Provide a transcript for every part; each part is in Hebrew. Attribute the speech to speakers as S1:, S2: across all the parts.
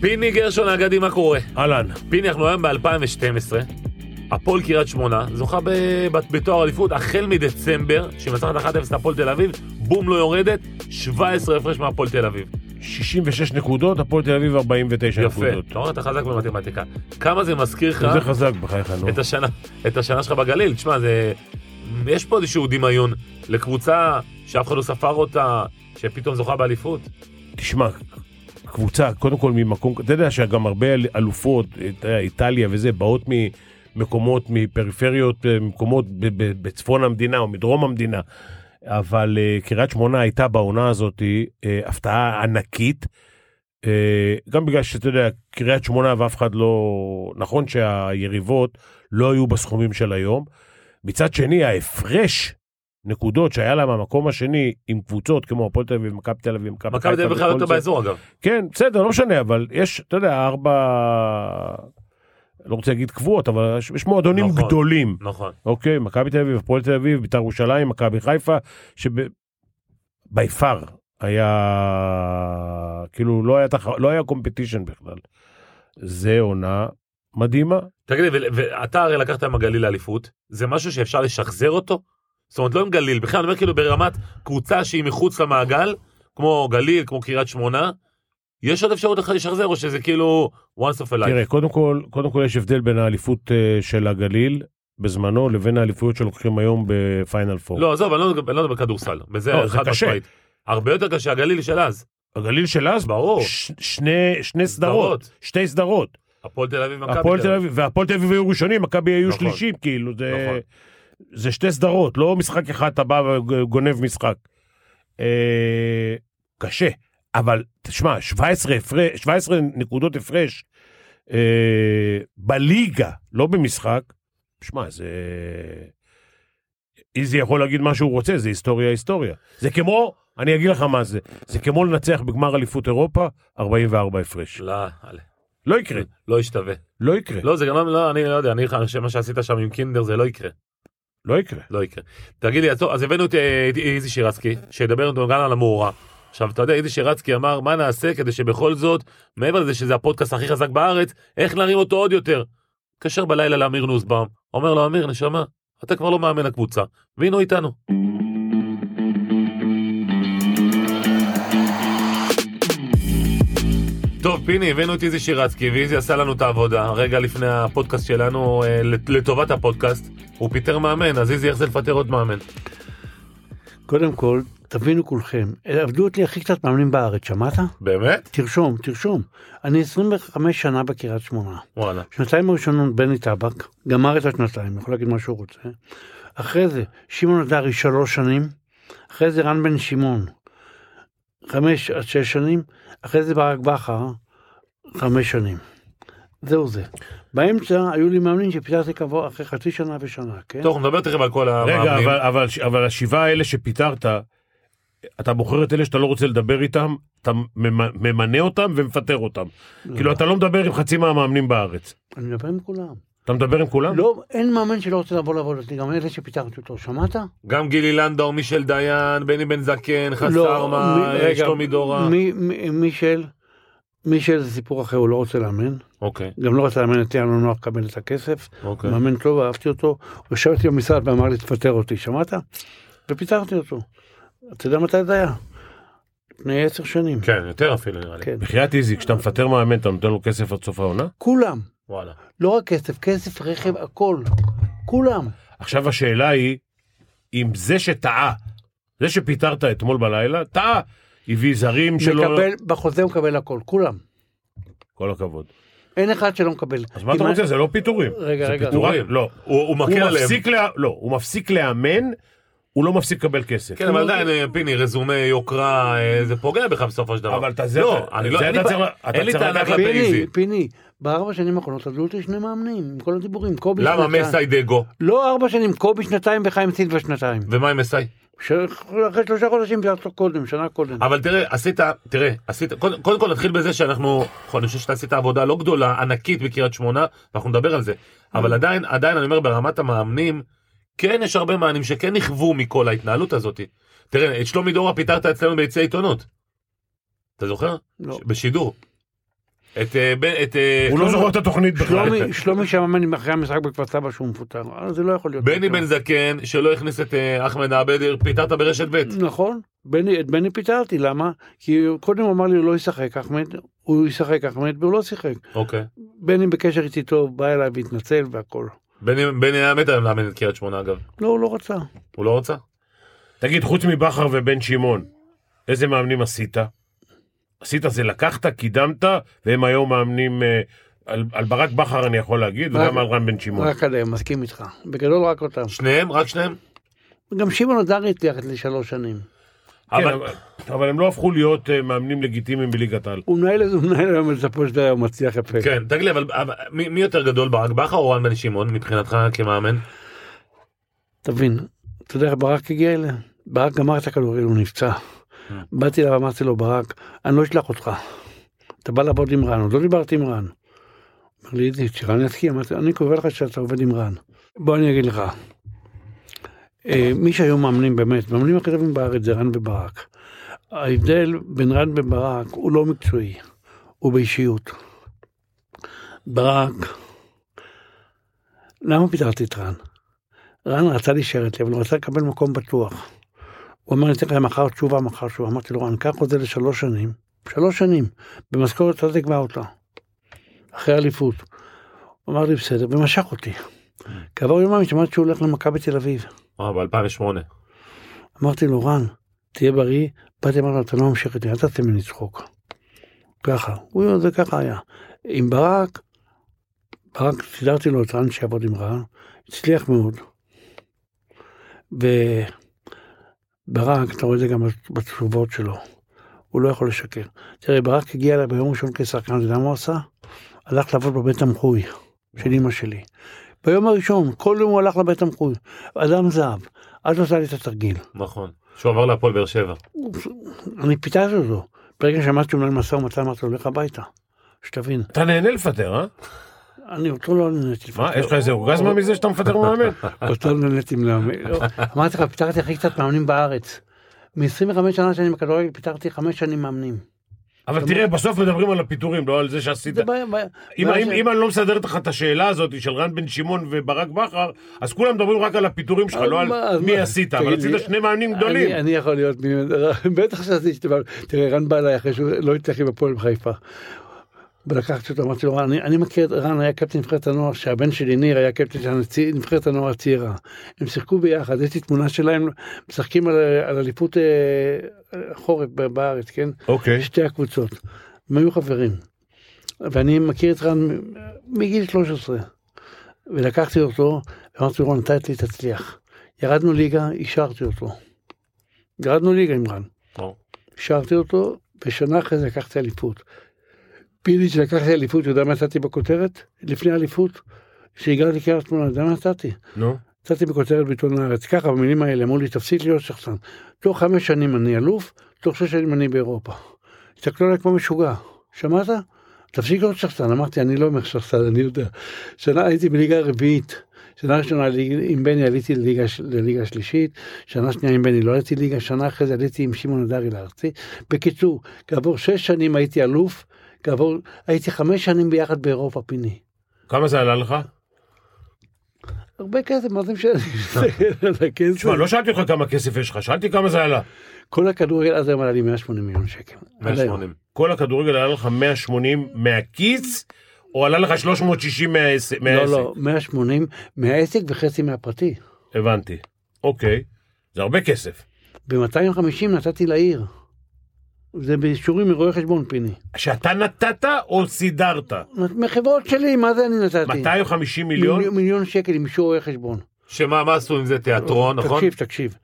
S1: פיני גרשון האגדי, מה קורה?
S2: אהלן.
S1: פיני, אנחנו היום ב-2012. הפועל קריית שמונה זוכה ב- ב- בתואר אליפות החל מדצמבר, שמנצחת 1-0 את הפועל תל אביב, בום לא יורדת, 17 הפרש מהפועל תל אביב.
S2: 66 נקודות, הפועל תל אביב 49
S1: יפה,
S2: נקודות.
S1: אתה רואה, אתה חזק במתמטיקה. כמה זה כן, מזכיר לך
S2: זה חזק בחייך, נו.
S1: את השנה, את השנה שלך בגליל? תשמע, זה... יש פה איזשהו דמיון לקבוצה שאף אחד לא ספר אותה, שפתאום זוכה באליפות.
S2: תשמע, קבוצה, קודם כל ממקום, אתה יודע שגם הרבה אל- אלופות, אתה יודע, איטליה וזה, באות ממקומות, מפריפריות, אה, מקומות ב- ב- בצפון המדינה או מדרום המדינה. אבל אה, קריית שמונה הייתה בעונה הזאת אה, הפתעה ענקית. אה, גם בגלל שאתה יודע, קריית שמונה ואף אחד לא... נכון שהיריבות לא היו בסכומים של היום. מצד שני, ההפרש נקודות שהיה לה מהמקום השני עם קבוצות כמו הפועל תל אביב, מכבי תל אביב, מכבי
S1: מכבי תל אביב בכלל לא
S2: וכל
S1: יותר
S2: זה.
S1: באזור אגב.
S2: כן, בסדר, לא משנה, אבל יש, אתה יודע, ארבע... לא רוצה להגיד קבועות, אבל יש- יש מועדונים
S1: נכון.
S2: גדולים.
S1: נכון.
S2: אוקיי, מכבי תל אביב, הפועל תל אביב, בית"ר ירושלים, מכבי חיפה, שבי פאר היה... כאילו, לא היה, תח... לא היה קומפטישן בכלל. זה עונה מדהימה.
S1: תגיד לי, ו- ואתה הרי לקחת עם הגליל לאליפות, זה משהו שאפשר לשחזר אותו? זאת אומרת, לא עם גליל, בכלל אני אומר כאילו ברמת קבוצה שהיא מחוץ למעגל, כמו גליל, כמו קריית שמונה, יש עוד אפשרות לך לשחזר, או שזה כאילו once of a life?
S2: תראה, קודם כל, קודם כל יש הבדל בין האליפות אה, של הגליל בזמנו לבין האליפויות שלוקחים היום בפיינל פור.
S1: לא, עזוב, אני לא מדבר- אני לא מדבר כדורסל, בזה
S2: לא, זה
S1: חד
S2: קשה.
S1: משמעית. הרבה יותר קשה הגליל של אז,
S2: הגליל של אז,
S1: ברור.
S2: ש- שני, שני סדרות,
S1: סדרות.
S2: שתי סדרות.
S1: הפועל תל אביב, מכבי
S2: הפועל תל אביב, והפועל תל אביב היו ראשונים, מכבי היו
S1: נכון.
S2: שלישים, כאילו, זה,
S1: נכון.
S2: זה שתי סדרות, לא משחק אחד אתה בא וגונב משחק. אה, קשה, אבל תשמע, 17, הפרש, 17 נקודות הפרש אה, בליגה, לא במשחק, שמע, זה... איזי יכול להגיד מה שהוא רוצה, זה היסטוריה היסטוריה. זה כמו, אני אגיד לך מה זה, זה כמו לנצח בגמר אליפות אירופה, 44 הפרש.
S1: לא, אל-
S2: לא יקרה,
S1: לא ישתווה.
S2: לא יקרה,
S1: לא, זה גם לא- לא, אני לא יודע, אני חושב מה שעשית שם עם קינדר זה לא יקרה.
S2: לא יקרה.
S1: לא יקרה. תגיד לי, אז טוב, אז הבאנו את אה, את איזי שירצקי, שידבר איתנו גם על המאורע. עכשיו, אתה יודע, איזי שירצקי אמר, מה נעשה כדי שבכל זאת, מעבר לזה שזה הפודקאסט הכי חזק בארץ, איך נרים אותו עוד יותר? התקשר בלילה לאמיר נוסבאום, אומר לו, אמיר, נשמה, אתה כבר לא מאמן הקבוצה, והנה הוא איתנו. טוב, פיני, הבאנו את איזי שירצקי, ואיזי עשה לנו את העבודה, רגע לפני הפודקאסט שלנו, אה, לטובת הפודקאסט, הוא פיטר מאמן, אז איזי, איך זה לפטר עוד מאמן?
S3: קודם כל, תבינו כולכם, עבדו אותי הכי קצת מאמנים בארץ, שמעת?
S1: באמת?
S3: תרשום, תרשום. אני 25 שנה בקריית שמונה.
S1: וואלה.
S3: שנתיים הראשונות בני טבק, גמר את השנתיים, יכול להגיד מה שהוא רוצה. אחרי זה, שמעון הדרי שלוש שנים, אחרי זה רן בן שמעון, חמש עד שש שנים, אחרי זה ברק בכר, חמש שנים. זהו זה. באמצע היו לי מאמנים שפיתרתי כעבור אחרי חצי שנה ושנה, כן?
S1: טוב, נדבר תכף על כל המאמנים.
S2: רגע, אבל, אבל, אבל השבעה האלה שפיטרת, אתה בוחר את אלה שאתה לא רוצה לדבר איתם, אתה ממ- ממנה אותם ומפטר אותם. כאילו, אתה לא מדבר עם חצי מהמאמנים בארץ.
S3: אני מדבר עם כולם.
S2: אתה מדבר עם כולם?
S3: לא, אין מאמן שלא רוצה לבוא לעבוד אותי, גם אלה שפיטרתי אותו, שמעת?
S1: גם גילי לנדאו, מישל דיין, בני בן זקן,
S3: לא,
S1: חסרמה,
S3: מי- רגע,
S1: אה, שלומי דורה.
S3: מי- מי- מישל, מישל זה סיפור אחר, הוא לא רוצה לאמן,
S1: אוקיי,
S3: גם לא רצה לאמן את ינון נוח לקבל את הכסף,
S1: אוקיי.
S3: מאמן טוב, אהבתי אותו, הוא ישב איתי במשרד ואמר לי תפטר אותי, שמעת? ופיטרתי אותו. אתה יודע מתי זה היה? לפני עשר שנים.
S1: כן, יותר אפילו נראה לי.
S3: כן.
S2: בחייאת איזי, כשאתה מפטר מאמן, אתה נותן לו כסף עד סוף העונה?
S3: כולם,
S1: וואלה.
S3: לא רק כסף, כסף, רכב, הכל, כולם.
S2: עכשיו השאלה היא, אם זה שטעה, זה שפיטרת אתמול בלילה, טעה. הביא זרים שלו,
S3: מקבל, בחוזה הוא מקבל הכל, כולם.
S2: כל הכבוד.
S3: אין אחד שלא מקבל.
S2: אז מה אתה
S3: אם-
S2: רוצה? זה לא פיטורים.
S3: רגע,
S2: זה
S3: רגע.
S2: פיטורים. לא.
S1: הוא הוא
S2: הוא
S1: מקל עליהם.
S2: מפסיק לה- לא, הוא מפסיק לאמן, הוא לא מפסיק לקבל כסף.
S1: כן, אבל עדיין, אה, פיני, רזומה, יוקרה, אה, זה פוגע בך בסופו של דבר.
S2: אבל אתה זה-
S1: לא,
S2: אתה-
S1: אני
S2: זה
S1: לא, אין לי
S2: אתה
S1: בע-
S2: צריך ל- אתה
S1: אין לי
S2: צריך
S1: טענה
S2: לקחת
S1: כלפי איזי.
S3: פיני, פיני, בארבע שנים האחרונות עזבו אותי שני מאמנים, עם כל הדיבורים, קובי
S1: למה מסי דגו?
S3: לא ארבע שנים, קובי שנתיים וחיים סילבה שנתיים.
S1: ומה עם מסי?
S3: ש- אחרי שלושה חודשים זה היה קודם, שנה קודם.
S1: אבל תראה, עשית, תראה, עשית, קודם, קודם כל נתחיל בזה שאנחנו, אני חושב שאתה עשית עבודה לא גדולה, ענקית בקריית שמונה, ואנחנו נדבר על זה. אבל עדיין, עדיין אני אומר ברמת המאמנים, כן יש הרבה מאמנים שכן נכוו מכל ההתנהלות הזאת. תראה, את שלומי דורה פיטרת אצלנו ביציע עיתונות. אתה זוכר?
S3: לא.
S1: ש- בשידור. את... אה, בן- את אה,
S2: הוא לא זוכר את התוכנית בכלל.
S3: שלומי, שלומי שממן אחרי המשחק בכפר סבא שהוא מפוטר, אה, זה לא יכול להיות.
S1: בני בן זקן, שלא הכניס את אה, אחמד עבד, פיטרת ברשת ב'.
S3: נכון, בני, את בני פיטרתי, למה? כי קודם הוא אמר לי הוא לא ישחק אחמד, הוא ישחק אחמד והוא לא שיחק.
S1: אוקיי.
S3: בני בקשר איתי טוב, בא אליי והתנצל והכל.
S1: בני בני היה מת עליו לאמן את קריית שמונה אגב.
S3: לא, הוא לא רצה.
S1: הוא לא רצה?
S2: תגיד, חוץ מבכר ובן שמעון, איזה מאמנים עשית? עשית זה לקחת, קידמת, והם היום מאמנים... אה, על, על ברק בכר אני יכול להגיד,
S3: ברק-
S2: וגם על רם בן שמעון.
S3: רק עליהם, מסכים איתך. בגדול רק אותם.
S1: שניהם? רק שניהם?
S3: גם שמעון הדר הצליח לשלוש שנים.
S2: כן,
S1: אבל-
S2: אבל, אבל הם לא הפכו להיות אה, מאמנים לגיטימיים בליגת העל.
S3: הוא מנהל איזה, הוא מנהל היום בסופו של דבר, הוא מצליח יפה.
S1: כן, תגיד לי, אבל אבל מי מי יותר גדול, ברק בכר או רן בן שמעון מבחינתך כמאמן?
S3: תבין, אתה יודע איך ברק הגיע אליה? ברק גמר את הכדורגל, הוא נפצע. באתי אליו, אמרתי לו, ברק, אני לא אשלח אותך. אתה בא לעבוד עם רן, עוד לא דיברתי עם רן. אמר לי, איציק, שרן יסכים, אמרתי, אני קובע לך שאתה עובד עם רן. בוא אני אגיד לך. אה, מי שהיו מאמנים באמת, מאמנים הכי טובים בארץ זה רן וברק. ההבדל בין רן וברק הוא לא מקצועי, הוא באישיות. ברק, למה פיטרתי את רן? רן רצה להישאר איתי, אבל הוא רצה לקבל מקום בטוח. הוא אמר, אני אתן לך מחר תשובה, מחר תשובה. אמרתי לו, רן, קח חוזה לשלוש שנים, שלוש שנים, במשכורת אתה תקבע אותה, אחרי אליפות. הוא אמר לי, בסדר, ומשך אותי. כעבור יומיים שמעתי שהוא הולך למכבי תל אביב.
S1: אה, ב-2008.
S3: אמרתי לו, רן, תהיה בריא, באתי אמרתי לו, אתה לא ממשיך איתי, אל תעשה ממני צחוק. ככה, הוא יודע, זה ככה היה. עם ברק, ברק, סידרתי לו את רן שיעבוד עם רן, הצליח מאוד. וברק, אתה רואה את זה גם בתשובות שלו, הוא לא יכול לשקר. תראה, ברק הגיע אליי ביום ראשון כשחקן, אתה יודע מה הוא עשה? הלך לעבוד בבית תמחוי של אמא שלי. ביום הראשון, כל יום הוא הלך לבית תמחוי. אדם זהב, אז עשה לי את התרגיל.
S1: נכון. שהוא עבר להפועל באר שבע.
S3: אני פיתרתי אותו. ברגע שאמרתי לו למשא ומתן, אמרתי לו, לך הביתה. שתבין,
S2: אתה נהנה לפטר, אה?
S3: אני אותו לא נהניתי.
S2: מה, יש לך איזה אורגזמה מזה שאתה מפטר מאמן?
S3: אותו לא נהניתי מלאמן. לא. אמרתי לך, פיתרתי הכי קצת מאמנים בארץ. מ-25 שנה שאני בכדורגל, פיתרתי חמש שנים מאמנים.
S2: אבל תראה, בסוף מדברים על הפיטורים, לא על זה שעשית.
S3: זה בעיה, בעיה.
S2: אם,
S3: בעיה
S2: אם,
S3: ש-
S2: אם אני לא מסדר לך את השאלה הזאת של רן בן שמעון וברק בכר, אז כולם מדברים רק על הפיטורים שלך,
S3: אז
S2: לא על
S3: מה- אז
S2: מי
S3: מה-
S2: עשית,
S3: תגיד
S2: אבל
S3: לי,
S2: עשית שני מאמנים גדולים.
S3: אני, אני יכול להיות, מי- בטח שעשיתי שתי פעמים. תראה, רן בא אליי אחרי שהוא לא הצליח עם הפועל בחיפה. ולקחתי אותו, אמרתי לו, רן, אני, אני מכיר את רן, היה קפטן נבחרת הנוער, שהבן שלי ניר היה קפטן של הנצי- נבחרת הנוער הצעירה. הם שיחקו ביחד, יש לי תמונה שלהם, משחקים על, על אליפות אה, חורף ב- בארץ, כן?
S2: אוקיי.
S3: שתי הקבוצות. הם היו חברים. ואני מכיר את רן מ- מגיל 13. ולקחתי אותו, ואמרתי לו, רון, אתה אצלי תצליח. ירדנו ליגה, השארתי אותו. ירדנו ליגה עם רן.
S1: או.
S3: השארתי אותו, ושנה אחרי זה לקחתי אליפות. פיליץ' לקחתי אליפות, אתה יודע מה נתתי בכותרת? לפני האליפות, כשהגעתי לקריית שמונה, אתה יודע מה נתתי?
S2: נו.
S3: נתתי בכותרת בעיתון הארץ, ככה במילים האלה, אמרו לי תפסיק להיות שחצן. תוך חמש שנים אני אלוף, תוך שש שנים אני באירופה. הסתכלו עליי כמו משוגע, שמעת? תפסיק להיות שחצן, אמרתי אני לא אומר שחצן, אני יודע. שנה הייתי בליגה הרביעית, שנה ראשונה ליג- עם בני עליתי לליגה, ש- לליגה השלישית, שנה שנייה עם בני לא עליתי ליגה, שנה אחרי זה עליתי עם שמעון הדרי לארצי. בקיצור, כעבור שש שנים הייתי אלוף, כעבור, הייתי חמש שנים ביחד באירופה פיני.
S2: כמה זה עלה לך?
S3: הרבה כסף, מה זה משנה? אני מסתכל על הכסף.
S2: תשמע, לא שאלתי אותך כמה כסף יש לך, שאלתי כמה זה עלה.
S3: כל הכדורגל עד היום עלה לי 180 מיליון שקל. עד היום.
S1: 180.
S2: כל הכדורגל עלה לך 180 מהכיס, או עלה לך 360 מהעסק?
S3: לא, לא, 180 מהעסק וחצי מהפרטי.
S2: הבנתי. אוקיי. זה הרבה כסף.
S3: ב-250 נתתי לעיר. זה באישורים מרואה חשבון פיני.
S2: שאתה נתת או סידרת?
S3: מחברות שלי, מה זה אני נתתי?
S2: 250 מיליון?
S3: מיליון- מיליון שקל עם אישור רואה חשבון.
S1: שמה מה עשו עם זה? תיאטרון, נכון?
S3: תקשיב, תקשיב.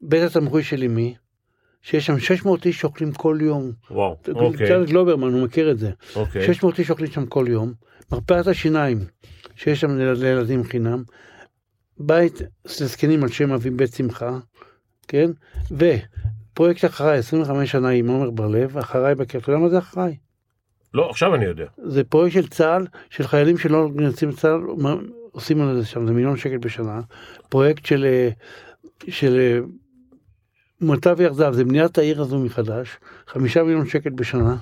S3: בית התמחוי שלי מי? שיש שם 600 איש שאוכלים כל יום.
S1: וואו.
S2: אוקיי.
S3: צד גלוברמן, הוא מכיר את זה.
S2: אוקיי.
S3: 600 איש אוכלים שם כל יום, מרפאת השיניים שיש שם ליל- לילדים חינם, בית לזקנים על שם אבי בית שמחה, כן? ופרויקט אחריי 25 שנה עם עומר בר-לב, אחריי בקרק, אתה יודע מה זה אחריי?
S2: לא, עכשיו אני יודע.
S3: זה פרויקט של צה"ל, של חיילים שלא מגייסים לצה"ל, מה- עושים על זה שם, זה מיליון שקל בשנה. פרויקט של, אה, של אה, מוטב יחדיו, זה בניית העיר הזו מחדש, חמישה מיליון שקל בשנה.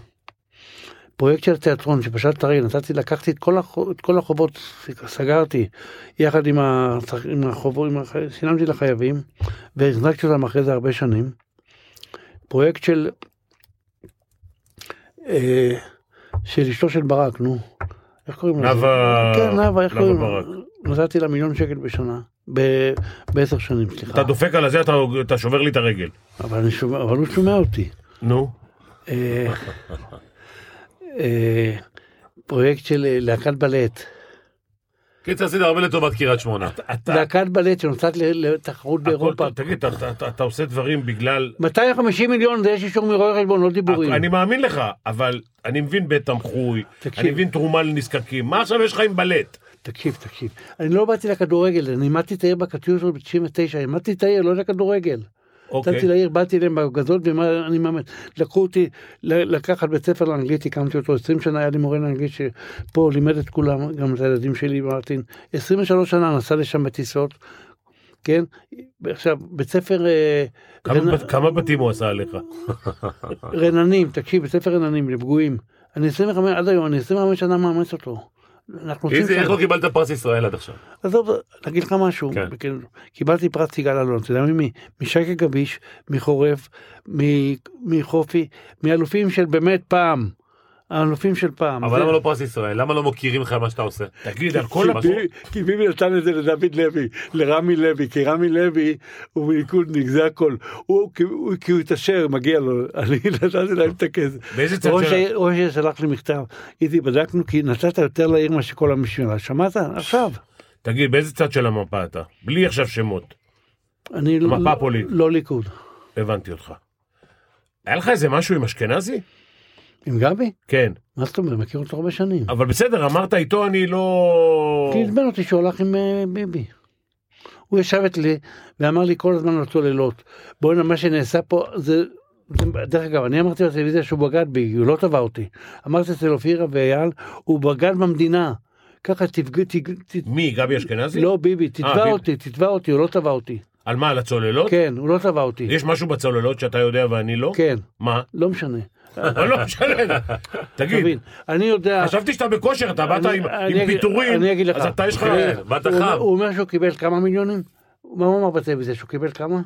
S3: הפרויקט של התיאטרון שפשט הרי נתתי לקחתי את כל, הח... את כל החובות סגרתי יחד עם, הצח... עם החובות עם הח... שילמתי לחייבים והחזקתי אותם אחרי זה הרבה שנים. פרויקט של אה, של אשתו של ברק נו איך קוראים לזה?
S2: נאוה-
S3: כן, נאוה איך
S2: נאוה
S3: קוראים
S2: ברק.
S3: לה? נתתי לה מיליון שקל בשנה ב- בעשר שנים סליחה
S2: אתה דופק על הזה, אתה- אתה שובר לי את הרגל.
S3: אבל, אני שומע, אבל הוא שומע אותי.
S2: נו.
S3: אה, אה, פרויקט של אה, להקת בלט.
S1: קיצר עשית הרבה לטובת קריית שמונה.
S2: אתה...
S3: להקת בלט שנוסעת ל- לתחרות
S2: הכל-
S3: באירופה.
S2: תגיד, אתה- אתה- אתה- אתה עושה דברים בגלל...
S3: 250 מיליון זה יש אישור מרואה חשבון, לא דיבורים.
S2: אני מאמין לך, אבל אני מבין בית תמחוי,
S3: תקשיב.
S2: אני מבין תרומה לנזקקים, מה עכשיו יש לך עם בלט?
S3: תקשיב, תקשיב. אני לא באתי לכדורגל, אני עימדתי את העיר בקטיושות ב-99, עימדתי את העיר, לא לכדורגל.
S2: אוקיי,
S3: נתתי לעיר, באתי אליהם בהפגזות, ואני מאמן. לקחו אותי ל- לקחת בית ספר לאנגלית, הקמתי אותו 20 שנה, היה לי מורה לאנגלית שפה לימד את כולם, גם את הילדים שלי, מרטין. 23 שנה נסע לשם בטיסות, כן? עכשיו, בית ספר אה,
S2: כמה
S3: רנ-
S2: בת- כמה בתים הוא עשה עליך?
S3: רננים, תקשיב, בית ספר רננים, לפגועים. אני 25, עד היום, אני 25 שנה מאמץ אותו. אנחנו עושים
S1: איזי,
S3: שם-
S1: איך לא קיבלת פרס ישראל עד עכשיו?
S3: עזוב, להגיד לך משהו,
S1: כן.
S3: כן. קיבלתי פרס יגאל אלון, אתה יודע ממי? משייקה גביש, מחורף, מ- מחופי, מאלופים של באמת פעם, האלופים של פעם.
S1: אבל למה לא פרס ישראל? למה לא מוכירים לך מה שאתה עושה?
S2: תגיד, על כל
S3: כי
S2: הפ...
S3: ביבי- כי ביבי נתן את זה לדוד לוי, לרמי לוי, כי רמי לוי הוא מליכודניק, זה הכל. הוא, כי הוא כי הוא התעשר, מגיע לו, אני נתתי להם את הכסף.
S2: באיזה צד
S3: ראש
S2: של-
S3: העיר- ראש העיר שלח לי מכתב, איתי בדקנו כי נתת יותר לעיר מאשר כל המשמרה, שמעת? עכשיו.
S2: תגיד, באיזה צד של המפה אתה? בלי עכשיו שמות,
S3: אני לא-
S2: מפה פוליטית.
S3: לא ליכוד.
S2: הבנתי אותך. היה לך איזה משהו עם אשכנזי?
S3: עם גבי?
S2: כן,
S3: מה זאת אומרת? מכיר אותו הרבה שנים.
S2: אבל בסדר, אמרת איתו אני לא...
S3: כי עצבן אותי שהוא הלך עם אה, ביבי. הוא ישב אצלי ואמר לי כל הזמן על צוללות. בואנה מה שנעשה פה זה... זה- דרך אגב, אני אמרתי בטלוויזיה שהוא בגד בי, הוא לא תבע אותי. אמרתי אצל אופירה ואייל, הוא בגד במדינה. ככה תפגע, תג... ת...
S2: מי, גבי אשכנזי?
S3: לא ביבי, תתבע
S2: אה, ביבי.
S3: אותי, תתבע אותי, הוא לא תבע אותי.
S2: על מה, על הצוללות?
S3: כן, הוא לא תבע אותי.
S2: יש משהו בצוללות שאתה יודע ואני לא?
S3: כן,
S2: מה?
S3: לא משנה.
S2: אבל לא משנה. תגיד,
S3: תבין, אני יודע...
S2: חשבתי שאתה בכושר, אתה באת
S3: אני-
S2: עם-
S3: אני
S2: עם
S3: אגיד-
S2: פיטורים,
S3: אני אגיד לך.
S2: אז אתה יש לך...
S1: כן, באת
S3: הוא אומר-
S1: חם.
S3: הוא אומר שהוא קיבל כמה מיליונים? מה הוא אמר בטלוויזיה? שהוא קיבל כמה?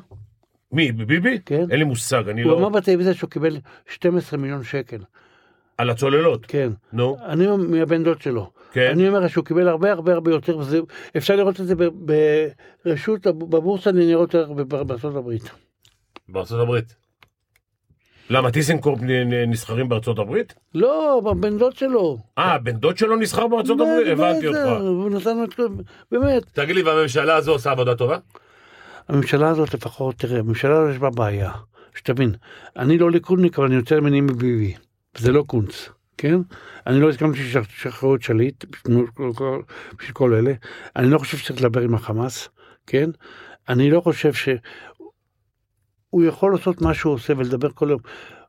S2: מי, ביבי?
S3: כן.
S2: אין לי מושג, אני
S3: הוא אמר
S2: לא...
S3: בטלוויזיה שהוא קיבל 12 מיליון שקל,
S2: על הצוללות.
S3: כן.
S2: נו,
S3: אני מהבן דוד שלו.
S2: כן.
S3: אני אומר לך שהוא קיבל הרבה הרבה הרבה יותר, וזה, אפשר לראות את זה ב- ברשות, בבורסה לניירות ערך בב- בארצות הברית.
S1: בארצות הברית.
S2: למה טיסנקורפ נ- נ- נסחרים בארצות הברית?
S3: לא, בבן דוד שלו.
S2: אה, בן דוד שלו נסחר בארצות הברית?
S3: באמת,
S2: הבנתי
S3: זה,
S2: אותך.
S3: הוא נתן לו את כל... באמת.
S1: תגיד לי, והממשלה הזו עושה עבודה טובה?
S3: הממשלה הזאת לפחות, תראה, הממשלה הזאת יש בה בעיה, שתבין, אני לא ליכודניק אבל אני יותר מיני מביבי, זה לא קונץ, כן? אני לא הסכמתי שישחררו את שליט בשביל כל- כל- בשביל כל אלה, אני לא חושב שצריך לדבר עם החמאס, כן? אני לא חושב ש... הוא יכול לעשות מה שהוא עושה ולדבר כל יום.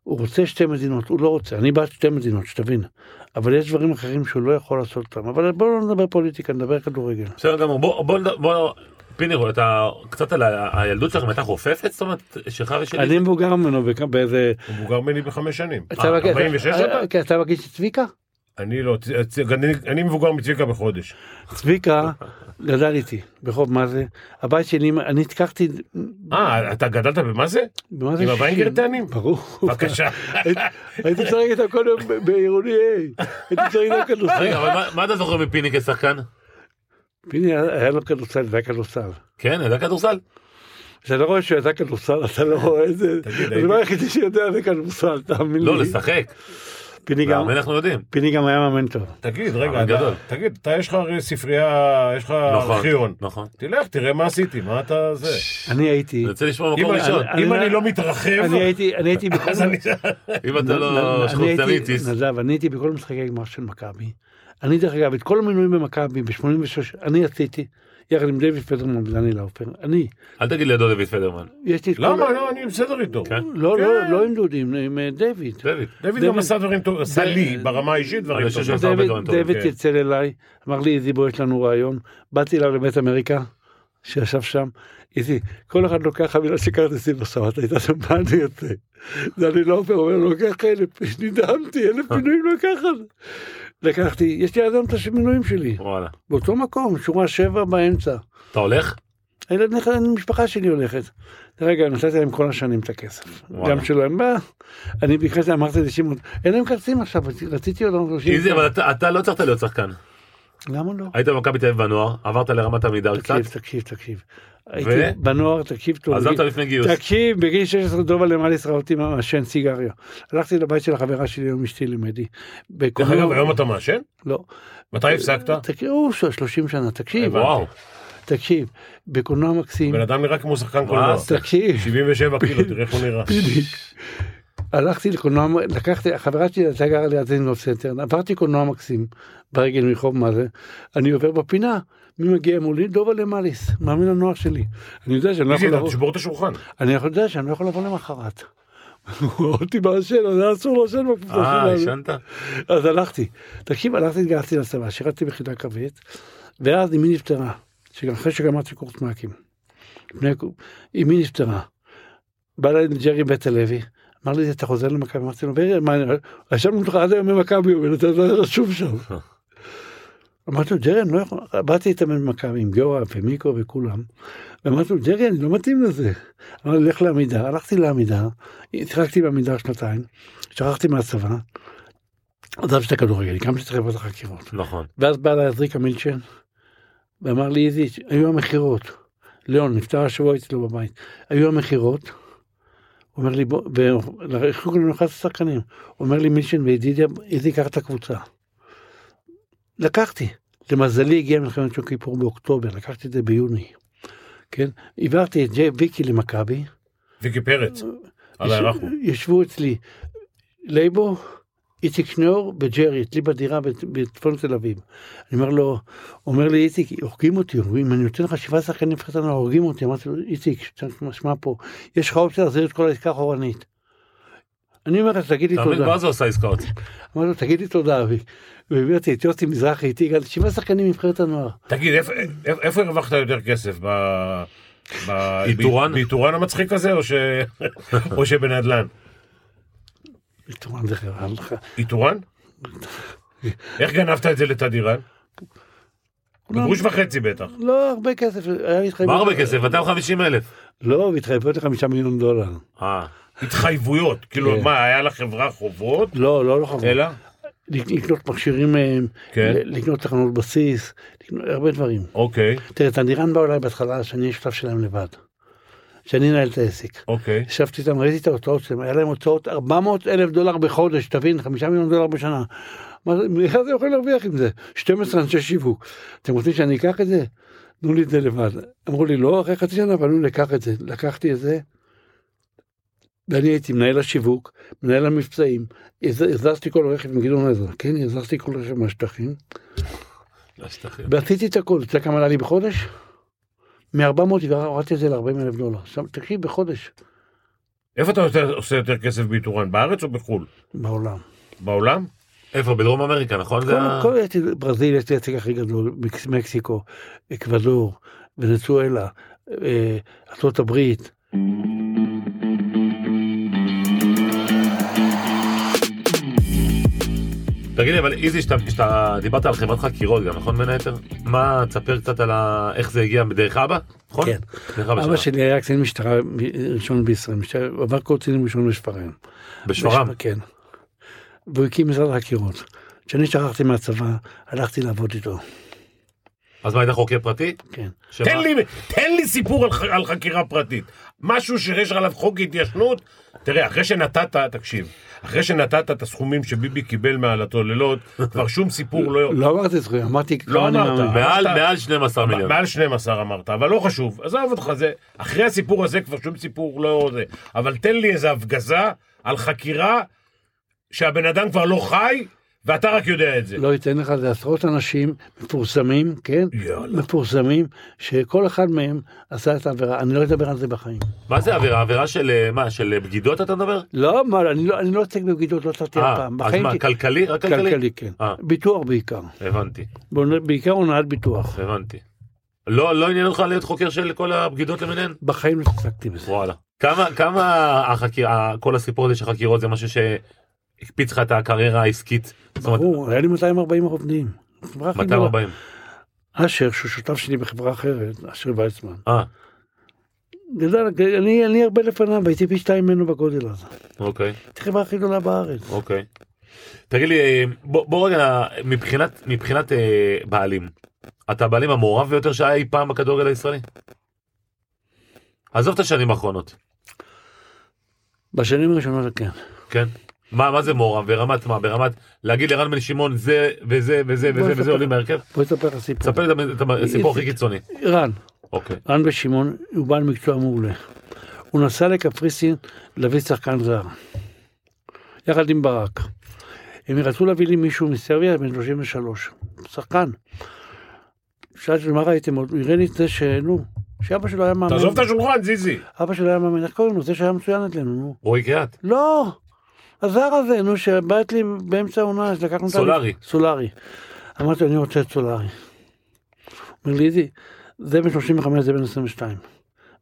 S3: הוא רוצה שתי מדינות, הוא לא רוצה, אני בעד שתי מדינות, שתבין. אבל יש דברים אחרים שהוא לא יכול לעשות אותם. אבל בואו לא נדבר פוליטיקה, נדבר כדורגל.
S1: בסדר גמור, בוא, בוא, נד- בוא, פינירו, אתה קצת על ה- הילדות שלכם הייתה חופפת? זאת אומרת, שלך ושלי?
S3: אני מבוגר ממנו בכ- באיזה
S2: הוא מבוגר ממני בחמש שנים.
S3: אתה
S2: אה,
S3: בגיל-
S2: 46 אתה?
S3: כן, אתה בגיל של צביקה?
S2: אני לא, צ- צ- אני- אני מבוגר מצביקה בחודש.
S3: צביקה גדל איתי ברחוב מה זה הבית שלי אני התקחתי
S2: אה, אתה גדלת במה זה?
S3: במה
S2: עם
S3: שישים?
S2: הווינגרטנים?
S3: ברור.
S2: בבקשה.
S3: הייתי צועק איתם כל יום ב- בעירוני A. הייתי צועק איתם כדורסל.
S1: רגע, אבל מה- מה אתה זוכר מפיני כשחקן?
S3: פיני היה היה לו כדורסל זה היה כדורסל.
S1: כן, ידע כדורסל?
S3: כשאתה לא רואה שהוא ידע כדורסל אתה לא רואה את זה.
S2: תגיד,
S3: הדבר היחידי שיודע זה כדורסל תאמין
S1: לא,
S3: לי.
S1: לשחק.
S3: פיני גם-
S1: מאמן אנחנו יודעים.
S3: פיני גם היה מאמן טוב.
S2: תגיד, רגע,
S1: אבל
S2: אתה-
S1: גדול.
S2: תגיד, אתה יש לך הרי ספרייה, יש לך
S1: נכון,
S2: ארכיון.
S1: נכון.
S2: תלך, תראה מה עשיתי, מה אתה זה.
S3: אני הייתי
S1: אני רוצה לשמוע
S2: אם
S1: מקום
S2: אני-
S1: ראשון.
S2: אם
S3: אני-
S2: אני לא מתרחב,
S3: אני הייתי אני הייתי בכל-
S2: אז אני...
S1: אם אתה לא
S3: אני הייתי,
S1: שחוצניטיס.
S3: נדב, אני הייתי בכל משחקי הגמר של מכבי. אני דרך אגב, את כל המינויים במכבי ב-86, אני עשיתי, יחד עם דיוויד פטרמן ודניאל האופר, אני,
S1: אל תגיד לידו דוד פדרמן.
S3: יש לי את כל...
S2: למה? לא, אני בסדר איתו.
S1: כן.
S3: לא, לא,
S2: כן.
S3: לא עם דודי, עם- עם אה, דיוויד.
S1: דוד.
S2: דוד גם
S3: דוד-
S2: עשה דברים טובים, עשה
S3: דוד-
S2: לי ברמה האישית דברים
S1: אני חושב
S2: טובים.
S1: שזה- הרבה
S3: דיוויד
S1: דברים טובים,
S3: דיוויד
S2: כן.
S3: יצא אליי, אמר לי, איזי בוא יש לנו רעיון, באתי אליו לבית אמריקה, שישב שם איתי, כל אחד לוקח חבילה של כרטיסים עכשיו, אתה יודע שם מה אני יוצא. דני לופר אומר, לוקח אלף, נדהמתי, אלף
S1: אה.
S3: מינויים לקחת. לקחתי, יש לי עד היום את המינויים שלי,
S1: וואלה.
S3: באותו מקום, שורה שבע באמצע.
S1: אתה הולך?
S3: הילד נכנס, המשפחה שלי הולכת. רגע, נתתי להם כל השנים את הכסף.
S1: וואלה.
S3: גם שלהם בא, אני ביקשתי, אמרתי לשמעון, אין להם כרטיסים עכשיו, רציתי עוד 30.
S1: איזי, אבל אתה- אתה לא צריך להיות שחקן.
S3: למה לא?
S1: היית במכבי תל אביב בנוער, עברת לרמת עמידר קצת,
S3: תקשיב, תקשיב, תקשיב. הייתי בנוער, תקשיב טוב.
S1: עזבת לפני גיוס.
S3: תקשיב, בגיל 16 דובה למעל ישראל אותי מעשן סיגריה. הלכתי לבית של החברה שלי, היום אשתי לימדי.
S2: דרך אגב, היום אתה מעשן?
S3: לא.
S2: מתי הפסקת?
S3: תקשיב, הוא 30 שנה, תקשיב,
S1: וואו.
S3: תקשיב, בקולנוע מקסים,
S2: בן אדם לא- נראה כמו שחקן קולנוע.
S1: וואו.
S3: תקשיב,
S2: 77 קילו, תראה איך הוא נראה.
S3: בדיוק. הלכתי לקולנוע, לקחתי, החברה שלי הייתה גרה ליד זינגוף סנטר, עברתי קולנוע מקסים, ברגל מרחוב מה זה, אני עובר בפינה, מי מגיע מולי? דובה למליס, מאמין הנוער שלי. אני יודע שאני לא
S2: איזי,
S3: יכול
S2: אתה
S3: לבוא,
S2: תשבור את השולחן.
S3: אני יודע שאני לא יכול לבוא למחרת. הוא רואה אותי מעשן, אז היה אסור לעשן בקבוצה
S1: אה,
S3: שלנו.
S1: עישנת?
S3: אז הלכתי. תקשיב, הלכתי, התגייסתי לצבא, שירתתי ביחידה קרבית, ואז אמי נפטרה, שגם אחרי שגמרתי קורס מ"כים. לפני- אמי נפטרה. בא אליי ג'רי בית הלוי, אמר לי, אתה חוזר למכבי? אמרתי לו, ברי, מה, אני- רשמנו אותך עד היום במכבי, אבל אתה לא היה רשום שם. אמרתי לו, ג'רי, אני לא יכול, באתי איתם במכבי עם גיורא ומיקו וכולם, ואמרתי לו, ג'רי, אני לא מתאים לזה. אמרתי, לך לעמידר, הלכתי לעמידר, התחלקתי בעמידר שנתיים, שכחתי מהצבא, עזבתי את הכדורגל, הקמתי את חברת החקירות.
S1: נכון.
S3: ואז בא אליי אדריקה מילצ'ן, ואמר לי, איזי, היו המכירות. ליאון נפטר השבוע אצלו בבית. היו המכירות, הוא אומר לי, בוא, ולחיקו לנו 11 שחקנים. הוא אומר לי, מילצ'ן וידידיה, איזי, קח את הקבוצה. לקחתי. למזלי הגיעה מלחמת יום כיפור באוקטובר, לקחתי את זה ביוני. כן? העברתי את ג'י ויקי למכבי.
S2: ויקי פרץ.
S3: אה,
S2: על הארחו.
S3: ישבו אצלי לייבו, איציק שניאור וג'רי, אצלי בדירה בת- בצפון תל אביב. אני אומר לו, אומר לי איציק, הורגים אותי, אם אני נותן לך שבעה שחקנים לפחות אנחנו הורגים אותי. אמרתי לו, איציק, שמע פה, יש לך אופציה להחזיר את כל העסקה אחורנית. אני אומר לך, תגיד לי
S1: תאמין,
S3: תודה.
S1: מה זה עושה עסקאות?
S3: אמרתי לו, תגיד לי תודה, אבי. והבאתי את יוסי מזרחי איתי, גם שבעה שחקנים מבחינת הנוער.
S2: תגיד, איפה- איפה- איפה הרווחת יותר כסף? ב... ב-
S1: איתורן?
S2: באיתורן המצחיק הזה או ש... או שבנדלן?
S3: תאמר, זה חרא לך.
S2: איתורן? איך גנבת את זה לתדירן? בגרוש וחצי בטח.
S3: לא הרבה כסף, היה לי התחייבות.
S1: מה הרבה כסף? 250 אלף.
S3: לא, והתחייבויות לחמישה מיליון דולר.
S1: אה,
S2: התחייבויות. כאילו,
S3: כן.
S2: מה, היה לחברה חובות?
S3: לא, לא, לא חבל.
S2: אלא?
S3: לק- לקנות מכשירים מהם,
S2: כן.
S3: ל- לקנות תחנות בסיס, לקנות הרבה דברים.
S2: אוקיי,
S3: תראה, תנדירן בא אליי בהתחלה שאני אהיה שותף שלהם לבד. שאני אנהל את העסק.
S2: אוקיי.
S3: ישבתי איתם, ראיתי את ההוצאות שלהם, היה להם הוצאות 400 אלף דולר בחודש, תבין, 5 מיליון דולר בשנה. מה זה- איך אתם יכולים להרוויח עם זה? 12 אנשי שיווק. אתם רוצים שאני אקח את זה? תנו לי את זה לבד. אמרו לי, לא, אחרי חצי שנה פנו לי, לקח את זה. לקחתי את זה, ואני הייתי מנהל השיווק, מנהל המבצעים, הז- הזזתי כל רכב עם גדעון עזרא, כן, הזזתי כל רכב מהשטחים,
S1: לא שטחים.
S3: ועשיתי את הכל, אתה יודע כמה עלה לי בחודש? מ-400 הורדתי את זה ל-40 אלף דולר. עכשיו, תקשיב, בחודש,
S2: איפה אתה יותר- עושה יותר כסף באיתורן? בארץ או בחו"ל?
S3: בעולם.
S2: בעולם?
S1: איפה? בדרום אמריקה, נכון? זה ה-
S3: כל- כל יש לי- ברזיל יש לי הצג הכי גדול, מקס- מקסיקו, אקוודור, ונצואלה, אה, ארצות הברית.
S1: תגיד לי, אבל איזי, שאתה- שאתה דיברת על חברת חקירות גם, נכון בין היתר? מה, תספר קצת על ה- איך זה הגיע בדרך אבא? נכון?
S3: כן.
S1: דרך אבא
S3: אבא
S1: שלך.
S3: שלי היה קצין משטרה מ- ראשון בישראל, משטרה- הוא עבר קורצינים ראשון בשפרעם.
S1: בשפרעם.
S3: בש- כן. והוא הקים משרד החקירות. כשאני שכחתי מהצבא, הלכתי לעבוד איתו,
S1: אז מה, היית חוקר פרטי?
S3: כן.
S1: שמה?
S2: תן לי, תן לי סיפור על, ח- על חקירה פרטית. משהו שיש עליו חוק התיישנות. תראה, אחרי שנתת, תקשיב, אחרי שנתת את הסכומים שביבי קיבל מעל הצוללות, כבר שום סיפור לא...
S3: לא אמרתי זכויות, אמרתי
S2: לא
S3: כמה אני
S2: אמרת.
S3: מאמין.
S1: מעל
S2: אתה-
S1: מעל 12 מיליון.
S2: מעל 12 אמרת, אבל לא חשוב, עזוב אותך, זה, אחרי הסיפור הזה כבר שום סיפור לא זה, אבל תן לי איזה הפגזה על חקירה שהבן אדם כבר לא חי, ואתה רק יודע את זה.
S3: לא אתן לך, זה עשרות אנשים מפורסמים, כן?
S2: יאללה.
S3: מפורסמים, שכל אחד מהם עשה את העבירה, אני לא אדבר על זה בחיים.
S1: מה זה עבירה? עבירה של אה, מה? של אה, בגידות אתה מדבר?
S3: לא, מה, אני לא, אני לא עוסק בבגידות, לא עשיתי אף
S1: אה,
S3: פעם.
S1: אז
S3: בחיים
S1: מה,
S3: שלי-
S1: כלכלי? רק כלכלי?
S3: כלכלי, כן.
S1: אה.
S3: ביטוח בעיקר.
S1: הבנתי,
S3: בעונה- בעיקר הונאת ביטוח.
S1: הבנתי. לא, לא עניין אותך להיות חוקר של כל הבגידות למיניהן?
S3: בחיים לא התעסקתי בזה.
S1: וואלה. כמה, כמה החקירה, כל הסיפור הזה של חקירות זה משהו שהקפיץ לך את הקריירה העסקית? זאת אומרת,
S3: ברור, היה לי 240 עובדים. חברה הכי גדולה.
S1: 240.
S3: אשר, שהוא שותף שלי בחברה אחרת, אשר ויצמן.
S1: אה,
S3: גדל, אני, אני הרבה לפניו, הייתי פי שתיים ממנו בגודל הזה.
S1: אוקיי.
S3: הייתי חברה הכי גדולה בארץ.
S1: אוקיי. תגיד לי, אה, בוא, בוא רגע, מבחינת, מבחינת אה, בעלים, אתה הבעלים המעורב ביותר שהיה אי פעם בכדורגל הישראלי? עזוב את השנים האחרונות,
S3: בשנים הראשונות כן.
S1: כן? מה, מה זה מעורב? ברמת מה? ברמת להגיד לרן בן שמעון זה וזה וזה
S3: בוא
S1: וזה וזה
S3: נספר.
S1: עולים מהרכב?
S3: בוא אספר לך סיפור.
S1: ספר לי את המ- את הסיפור הכי קיצוני.
S3: רן,
S1: אוקיי.
S3: רן ושמעון הוא בעל מקצוע מעולה. הוא נסע לקפריסין להביא שחקן זר. יחד עם ברק. הם רצו להביא לי מישהו מסרביה בן 33. שחקן. שאלתי לו מה ראיתם עוד? הוא הראה לי את זה שנו, שאבא שלו היה מאמן.
S2: תעזוב את השולחן, זיזי.
S3: אבא שלו היה מאמן, איך קוראים לו? זה שהיה מצוין אצלנו, נו.
S1: רועי קריאט.
S3: לא, הזר הזה, נו, שבעט לי באמצע העונה, אז לקחנו את ה-
S1: סולארי.
S3: סולארי. אמרתי לו, אני רוצה את סולארי. אומר לי, אידי, זה בן 35, זה בן 22.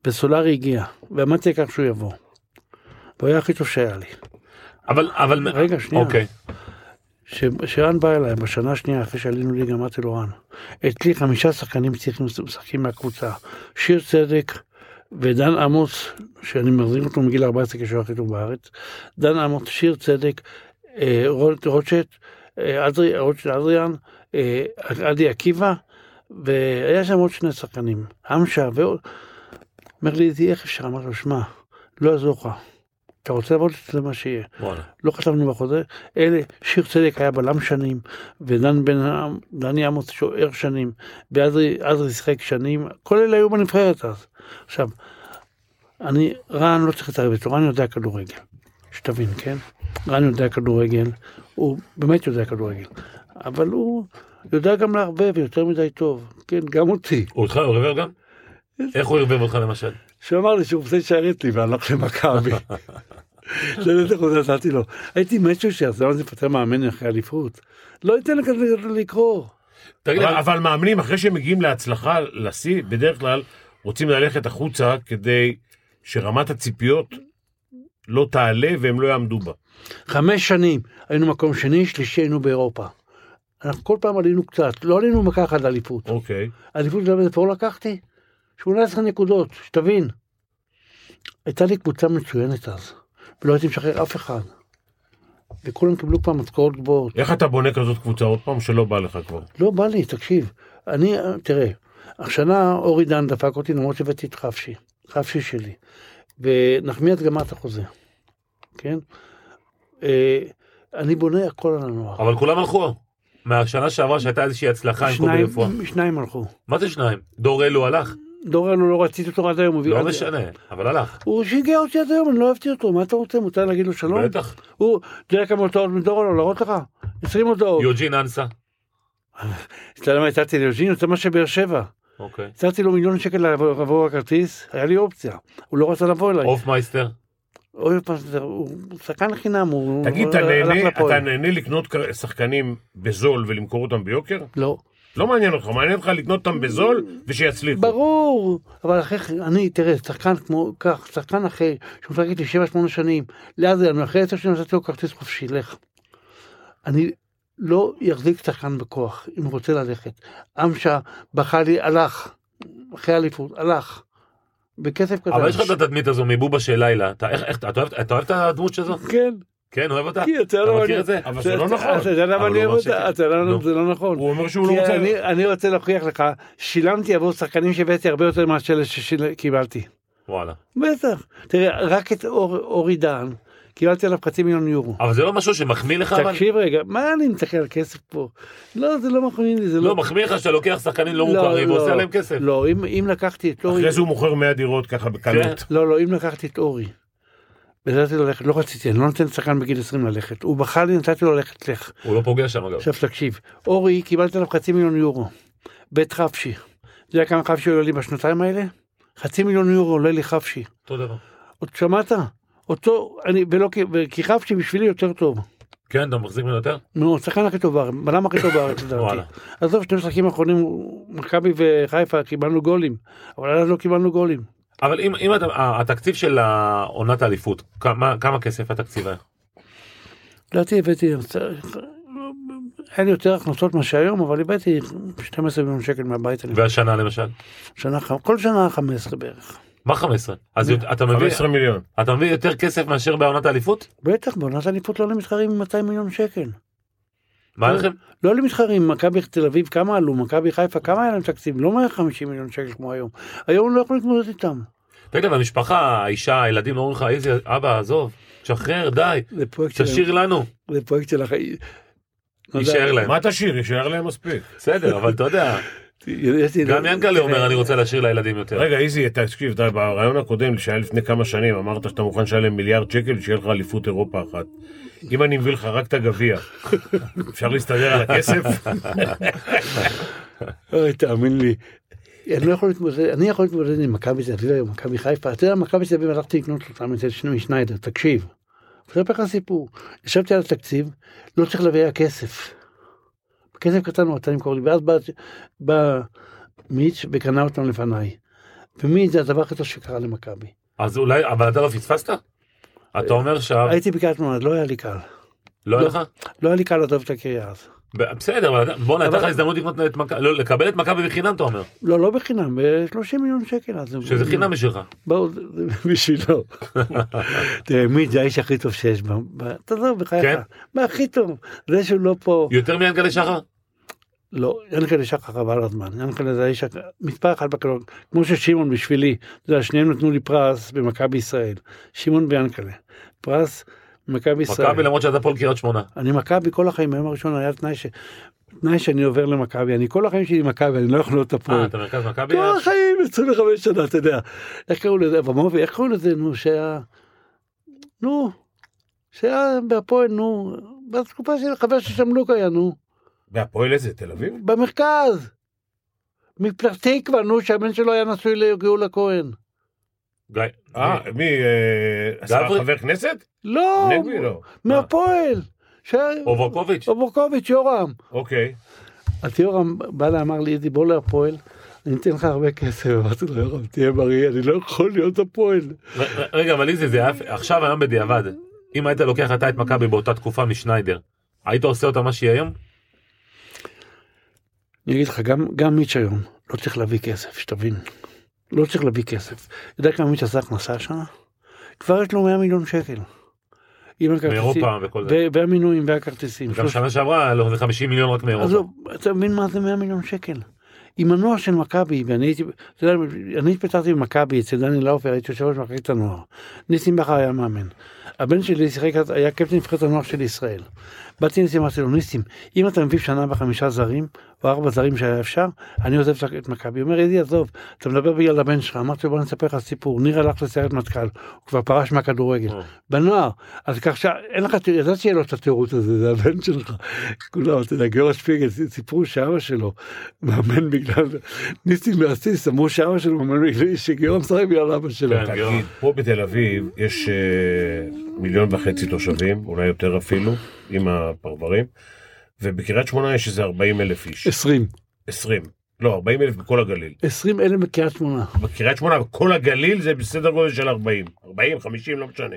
S3: וסולארי הגיע, ועמדתי על כך שהוא יבוא. והוא היה הכי טוב שהיה לי.
S1: אבל, אבל...
S3: רגע, שנייה.
S1: אוקיי.
S3: כשרן בא אליי בשנה השנייה אחרי שעלינו ליגה, אמרתי לו רן, אצלי חמישה שחקנים צריכים משחקים מהקבוצה, שיר צדק ודן עמוס, שאני מחזיק אותו מגיל 14 כשהוא הכי טוב בארץ, דן עמוס, שיר צדק, אה, רול- רוטשט, אה, אדרי- רוטשט אדריאן, אה, עדי עקיבא, והיה שם עוד שני שחקנים, המשה ועוד. אומר לי, "אידי, איך אפשר? אמרתי לו, שמע, לא יעזור לך, אתה רוצה לעבוד אצלי מה שיהיה.
S1: וואלה.
S3: לא חשבנו בחוזה, אלה, שיר צדק היה בלם שנים, ודן בן העם, דני עמוס שוער שנים, ואדרי אדרי שיחק שנים, כל אלה היו בנבחרת אז. עכשיו, אני, רן לא צריך להתערב איתו, רן יודע כדורגל, שתבין, כן? רן יודע כדורגל, הוא באמת יודע כדורגל, אבל הוא יודע גם לערבב יותר מדי טוב, כן, גם אותי.
S1: הוא אותך הוא ערבב גם? איך הוא ערבב אותך למשל?
S3: שהוא אמר לי שהוא רוצה לשרת לי והלך למכבי. זה איזה חוזה נתתי לו. הייתי מת שהוא שיעשה מה זה פותר מאמן אחרי אליפות. לא אתן לך לקרוא.
S1: תגיד לי,
S2: אבל, אבל מאמנים, אחרי שהם מגיעים להצלחה, לשיא, בדרך כלל רוצים ללכת החוצה כדי שרמת הציפיות לא תעלה והם לא יעמדו בה.
S3: חמש שנים היינו מקום שני, שלישי היינו באירופה. אנחנו כל פעם עלינו קצת, לא עלינו מכה אחת אליפות.
S2: אוקיי.
S3: אליפות אתה יודע איזה פור לקחתי? 18 נקודות, שתבין. הייתה לי קבוצה מצוינת אז, ולא הייתי משחרר אף אחד. וכולם קיבלו פעם משכורות גבוהות.
S2: איך אתה בונה כזאת קבוצה עוד פעם שלא בא לך כבר?
S3: לא בא לי, תקשיב. אני, תראה, השנה אורי דן דפק אותי למרות שהבאתי את חפשי, חפשי שלי. ונחמיאס גמר את החוזה, כן? אה, אני בונה הכל על הנוער.
S1: אבל כולם הלכו. מהשנה שעברה שהייתה איזושהי הצלחה עם קובי
S3: שניים,
S1: רפואה.
S3: שניים הלכו.
S1: מה זה שניים? דור אלו הלך.
S3: דורן הוא לא רציתי אותו עד היום. הוא הביא-
S1: לא
S3: עד-
S1: משנה, אבל הלך.
S3: הוא שיגע אותי עד היום, אני לא אהבתי אותו, מה אתה רוצה? מותר להגיד לו שלום?
S1: בטח.
S3: הוא, אתה יודע כמה הודעות מדורן הוא להראות לך? 20 הודעות.
S1: יוג'ין אנסה.
S3: אתה יודע מה הצעתי ליוג'ין? זה מה שבאר שבע.
S1: אוקיי.
S3: הצעתי לו מיליון שקל לעבור לעבור הכרטיס, היה לי אופציה. הוא לא רצה לבוא אליי.
S1: אוף מייסטר.
S3: אוקיי. אוי, מה זה, הוא שחקן חינם, הוא
S2: תגיד, אתה
S3: הוא
S2: נהנה,
S3: הלך לפועל.
S2: אתה נהנה לקנות כ- שחקנים בזול ולמכור אותם ביוקר?
S3: לא,
S2: לא מעניין אותך, מעניין אותך לקנות אותם בזול ושיצליחו.
S3: ברור, אבל אחרי, אני, תראה, שחקן כמו כך, שחקן אחרי, שהוא משחק איתי 7-8 שנים, ליד זה, אני אחרי 10 שנים נתתי לו כרטיס חופשי, לך. אני לא יחזיק שחקן בכוח, אם הוא רוצה ללכת. אמשה בכה לי, הלך, אחרי האליפות, הלך. בכסף קטן.
S1: אבל יש לך את התדמית הזו מבובה של לילה. אתה איך- איך- אתה אוהב- אתה אוהב את הדמות שלו?
S3: כן,
S1: כן, אוהב אותה?
S3: כי אתה
S1: אתה
S3: לא
S1: מכיר את זה?
S2: אבל זה לא נכון.
S3: אתה יודע למה
S1: אבל
S3: אני
S1: הוא
S3: אוהב
S1: אמר שכן.
S3: אותה? אתה יודע למה
S1: נו.
S3: זה לא נכון.
S2: הוא אומר שהוא לא
S3: כי
S2: רוצה...
S3: אני, אני רוצה להוכיח לך, שילמתי עבור שחקנים שהבאתי הרבה יותר מאשר אלה שקיבלתי.
S1: וואלה.
S3: בטח. תראה, רק את אור, אורי דן, קיבלתי עליו חצי מיליון יורו.
S1: אבל זה לא משהו שמחמיא לך אבל?
S3: תקשיב רגע, מה אני מסתכל על כסף פה? לא, זה לא מחמיא לי, זה לא...
S1: לא, מחמיא לך שאתה לוקח שחקנים לא
S3: לא,
S1: מוכרים
S3: לא.
S1: ועושה עליהם כסף.
S3: לא, אם, אם לקחתי את אורי...
S2: אחרי זה הוא מוכר 100 דירות ככה בקלות.
S3: לא, לא, אם לקחתי את אורי. ונתתי לו ללכת, לא רציתי, אני לא נותן לשחקן בגיל 20 ללכת. הוא בחר לי, נתתי לו ללכת, לך.
S1: הוא לא פוגע שם אגב.
S3: עכשיו תקשיב, אורי קיבלת עליו חצי מיליון יורו, בית חפשי. אתה יודע כמה חפשי עולה לי בשנתיים האלה? חצי מיליון יורו עולה לי חפשי.
S1: אותו דבר.
S3: עוד שמעת? אותו, אני, ולא, כי- כי חפשי בשבילי יותר טוב.
S1: כן, אתה מחזיק ממנו יותר?
S3: נו, השחקן הכי טוב בארץ, בלם הכי טוב בארץ לדעתי.
S1: וואלה.
S3: עזוב, שני משחקים האחרונים, מכבי וחיפה, קיבלנו גולים, אבל אז לא קיבלנו גולים.
S1: אבל אם, אם אתה, ה- התקציב של עונת האליפות, כמה, כמה כסף התקציב היה?
S3: לדעתי הבאתי, היה לי יותר הכנסות מאשר היום, אבל הבאתי 12 מיליון שקל מהבית, אני-
S1: והשנה למשל?
S3: שנה, ח- כל שנה 15 בערך.
S1: מה 15? אז יות- אתה מביא,
S2: 15 מיליון.
S1: אתה מביא יותר כסף מאשר בעונת האליפות?
S3: בטח, בעונת האליפות לא למתחרים עם 200 מיליון שקל.
S1: מה
S3: כן.
S1: לכם?
S3: לא למתחרים, מכבי תל אביב כמה עלו, מכבי חיפה כמה היה להם תקציב, לא 150 מיליון שקל כמו היום. היום הם לא יכולים להתמודד איתם.
S1: תגיד, אבל המשפחה, האישה, הילדים לא אומרים לך, איזה, אבא, עזוב, תשחרר, די,
S3: זה פרויקט של-
S1: תשאיר לנו,
S3: זה פרויקט של החיים.
S1: יישאר להם.
S2: מה תשאיר? יישאר להם מספיק.
S1: בסדר, אבל אתה יודע,
S3: יש לי-
S1: גם ינקלה אומר, אני רוצה להשאיר לילדים יותר.
S2: רגע, איזי, תקשיב, אתה- ברעיון הקודם שהיה לפני כמה שנים, אמרת שאתה מוכן לשלם מיליארד שקל, שיהיה לך אליפות אירופה אחת. אם אני מביא לך רק את הגביע, אפשר להסתדר על הכסף?
S3: אוי, תאמין לי. אני לא יכול להתמודד, אני יכול להתמודד עם מכבי תל אביב היום, מכבי חיפה. אתה יודע, מכבי תל אביב הלכתי לקנות אותם אצל שנוי שניידר, תקשיב. אני אספר לך סיפור. ישבתי על התקציב, לא צריך להביא כסף. כסף קטן הוא אתה למכור לי, ואז בא, בא מיץ' וקנה אותם לפניי. ומיץ' זה הדבר הכי טוב שקרה למכבי.
S1: אז אולי, אבל אתה לא פספסת? אתה אומר שם,
S3: הייתי בקריית שמונה, לא היה לי קל.
S1: לא היה לך?
S3: לא היה לי קל לעזוב את הקריה אז.
S1: ב- בסדר, אבל אתה- בוא'נה, הייתה לך
S3: אבל-
S1: הזדמנות לקנות את מכבי, לא, לקבל את מכבי בחינם, אתה אומר,
S3: לא, לא בחינם, ב-30 מיליון שקל אז.
S1: שזה חינם בשבילך.
S3: בואו, זה בשבילו. תראה, מיץ' זה האיש הכי טוב שיש. ב- ב- תעזוב,
S1: כן?
S3: בחייך. מה הכי טוב? זה שהוא לא פה.
S1: יותר מיענקלה שחר?
S3: לא, ינקלה שחר חבל הזמן. ינקלה זה האיש, הכ- מספר אחת בכלום. כמו ששמעון בשבילי, אתה יודע, שניהם נתנו לי פרס במכבי ישראל. שמעון ויאנקלה. פרס במכבי ישראל.
S1: מכבי למרות שאתה פה לקריית שמונה. אה,
S3: אני מכבי כל החיים, היום הראשון היה תנאי ש... תנאי שאני עובר למכבי. אני כל החיים שלי מכבי, אני לא יכול להיות
S1: אה,
S3: הפועל.
S1: אתה מרכז מכבי?
S3: כל החיים 25 שנה אתה יודע איך קראו לזה במובי איך קראו לזה נו שהיה נו שהיה בהפועל נו בתקופה של חבר של שמלוק היה נו
S2: והפועל איזה? תל אביב?
S3: במרכז. מפתח תקווה נו שהבן שלו היה נשוי לגאולה כהן.
S1: גיא.
S2: אה, מי? אה, עשה
S1: גברי?
S2: חבר כנסת?
S3: לא
S2: נגבי? לא.
S3: מהפועל. שהיה-
S1: אוברקוביץ'?
S3: אוברקוביץ' יורם.
S2: אה, אולי.
S3: אז יורם בא אליי, אמר לי, אידי, בוא להפועל, אני אתן לך הרבה כסף. אמרתי לו, יורם, תהיה בריא, אני לא יכול להיות הפועל.
S1: ר- ר- רגע, אבל איזה, זה היה עכשיו היום בדיעבד. אם היית לוקח אתה את מכבי באותה תקופה משניידר, היית עושה אותה מה שיהיה היום?
S3: אני אגיד לך, גם, גם מיץ' היום לא צריך להביא כסף, שתבין. לא צריך להביא כסף. אתה יודע כמה מיץ' עשה הכנסה השנה? כבר יש לו 100 מיליון שקל. עם הכרטיסים,
S1: מאירופה וכל זה.
S3: ו- והמינויים והכרטיסים.
S1: גם שנה שעברה, לא, זה 50 מיליון רק מאירופה.
S3: עזוב, אתה מבין מה זה 100 מיליון שקל? עם הנוער של מכבי, ואני הייתי, אתה יודע, אני התפטרתי במכבי אצל דני לאופר, הייתי יושב ראש מחלקת הנוער. ניסים בכר היה מאמן. הבן שלי שיחק, אז- היה קפטן נבחרת הנוער של ישראל. באתי לניסים, אמרתי לו, ניסים, אם אתה מביא שנה בחמישה זרים, או ארבע זרים שהיה אפשר, אני עוזב את מכבי. הוא אומר, ידי, עזוב, אתה מדבר בגלל הבן שלך. אמרתי לו, בוא אני אספר לך סיפור. ניר הלך לסיירת מטכ"ל, הוא כבר פרש מהכדורגל.
S1: או.
S3: בנוער. אז כך שאין לך, ידעתי שיהיה לו את התירוץ הזה, זה הבן שלך. כולם, אתה יודע, גיאורא שפיגל, סיפרו שאבא שלו מאמן בגלל, ניסים להסיס, אמרו שאבא שלו מאמן בגלל שגיאורא משחק בגלל אבא שלו.
S1: כן. גאון.
S2: תגיד, פה בתל אביב יש אה, מיליון וחצי תושבים, אולי יותר אפילו, עם הפרברים, ובקריית שמונה יש איזה 40 אלף איש.
S3: 20.
S2: 20. לא, 40 אלף בכל הגליל.
S3: 20 אלה בקריית שמונה.
S2: בקריית שמונה, בכל הגליל זה בסדר גודל של 40. 40, 50, לא משנה.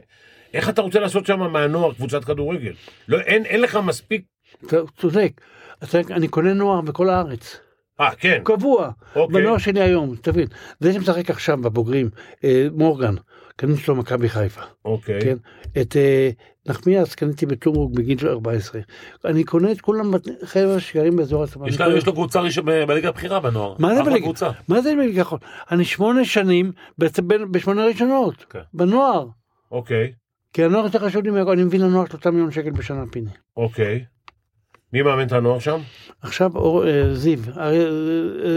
S2: איך אתה רוצה לעשות שם מהנוער קבוצת כדורגל? לא, אין, אין לך מספיק...
S3: אתה צודק. אתה- אני קונה נוער בכל הארץ.
S2: אה, כן,
S3: קבוע.
S2: אוקיי.
S3: בנוער שלי היום, תבין. זה שמשחק עכשיו בבוגרים, אה, מורגן, קניתי לו מכבי חיפה.
S2: אוקיי.
S3: כן, את אה, נחמיאס קניתי בטומרוק בגיל 14. אני קונה את כולם, בת- חבר'ה שגרים באזור הצבא.
S1: יש לה- יש לו קבוצה ראשונה ב- בליגה הבכירה בנוער.
S3: מה זה
S1: אחלה
S3: בליגה?
S1: קבוצה.
S3: מה זה בליגה האחרונה? אני שמונה שנים בעצם בין- בשמונה ראשונות,
S1: כן.
S3: בנוער.
S2: אוקיי,
S3: כי הנוער יותר חשוב לי מהכל, אני מביא לנוער 3 מיליון שקל בשנה פיני.
S2: אוקיי. מי מאמן את הנוער שם?
S3: עכשיו אור, אה, זיו, הרי, אה,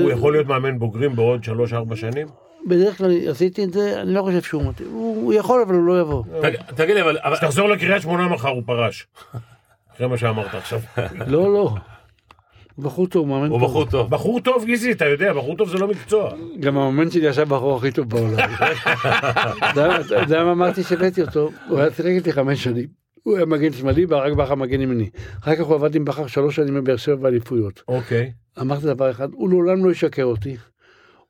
S2: הוא
S3: אה,
S2: יכול להיות מאמן בוגרים בעוד 3-4 שנים?
S3: בדרך כלל עשיתי את זה, אני לא חושב שהוא מתאים. הוא הוא יכול אבל הוא לא יבוא.
S1: תג- תגיד לי, אבל... אבל-
S2: כשתחזור לקריית שמונה מחר הוא פרש. אחרי מה שאמרת עכשיו.
S3: לא, לא. הוא בחור טוב, הוא מאמן
S1: הוא
S3: טוב.
S1: בחור טוב.
S2: בחור טוב גיזי, אתה יודע, בחור טוב זה לא מקצוע.
S3: גם המאמן שלי ישב בחור הכי טוב בעולם. אתה יודע- אתה יודע מה אמרתי שהבאתי אותו? הוא היה צריך איתי חמש שנים. הוא היה מגן שמאלי וברק בכר מגן ימיני. אחר כך הוא עבד עם בכר שלוש שנים בבאר שבע באליפויות.
S2: אוקיי.
S3: אמרתי דבר אחד, הוא לעולם לא ישקר אותי,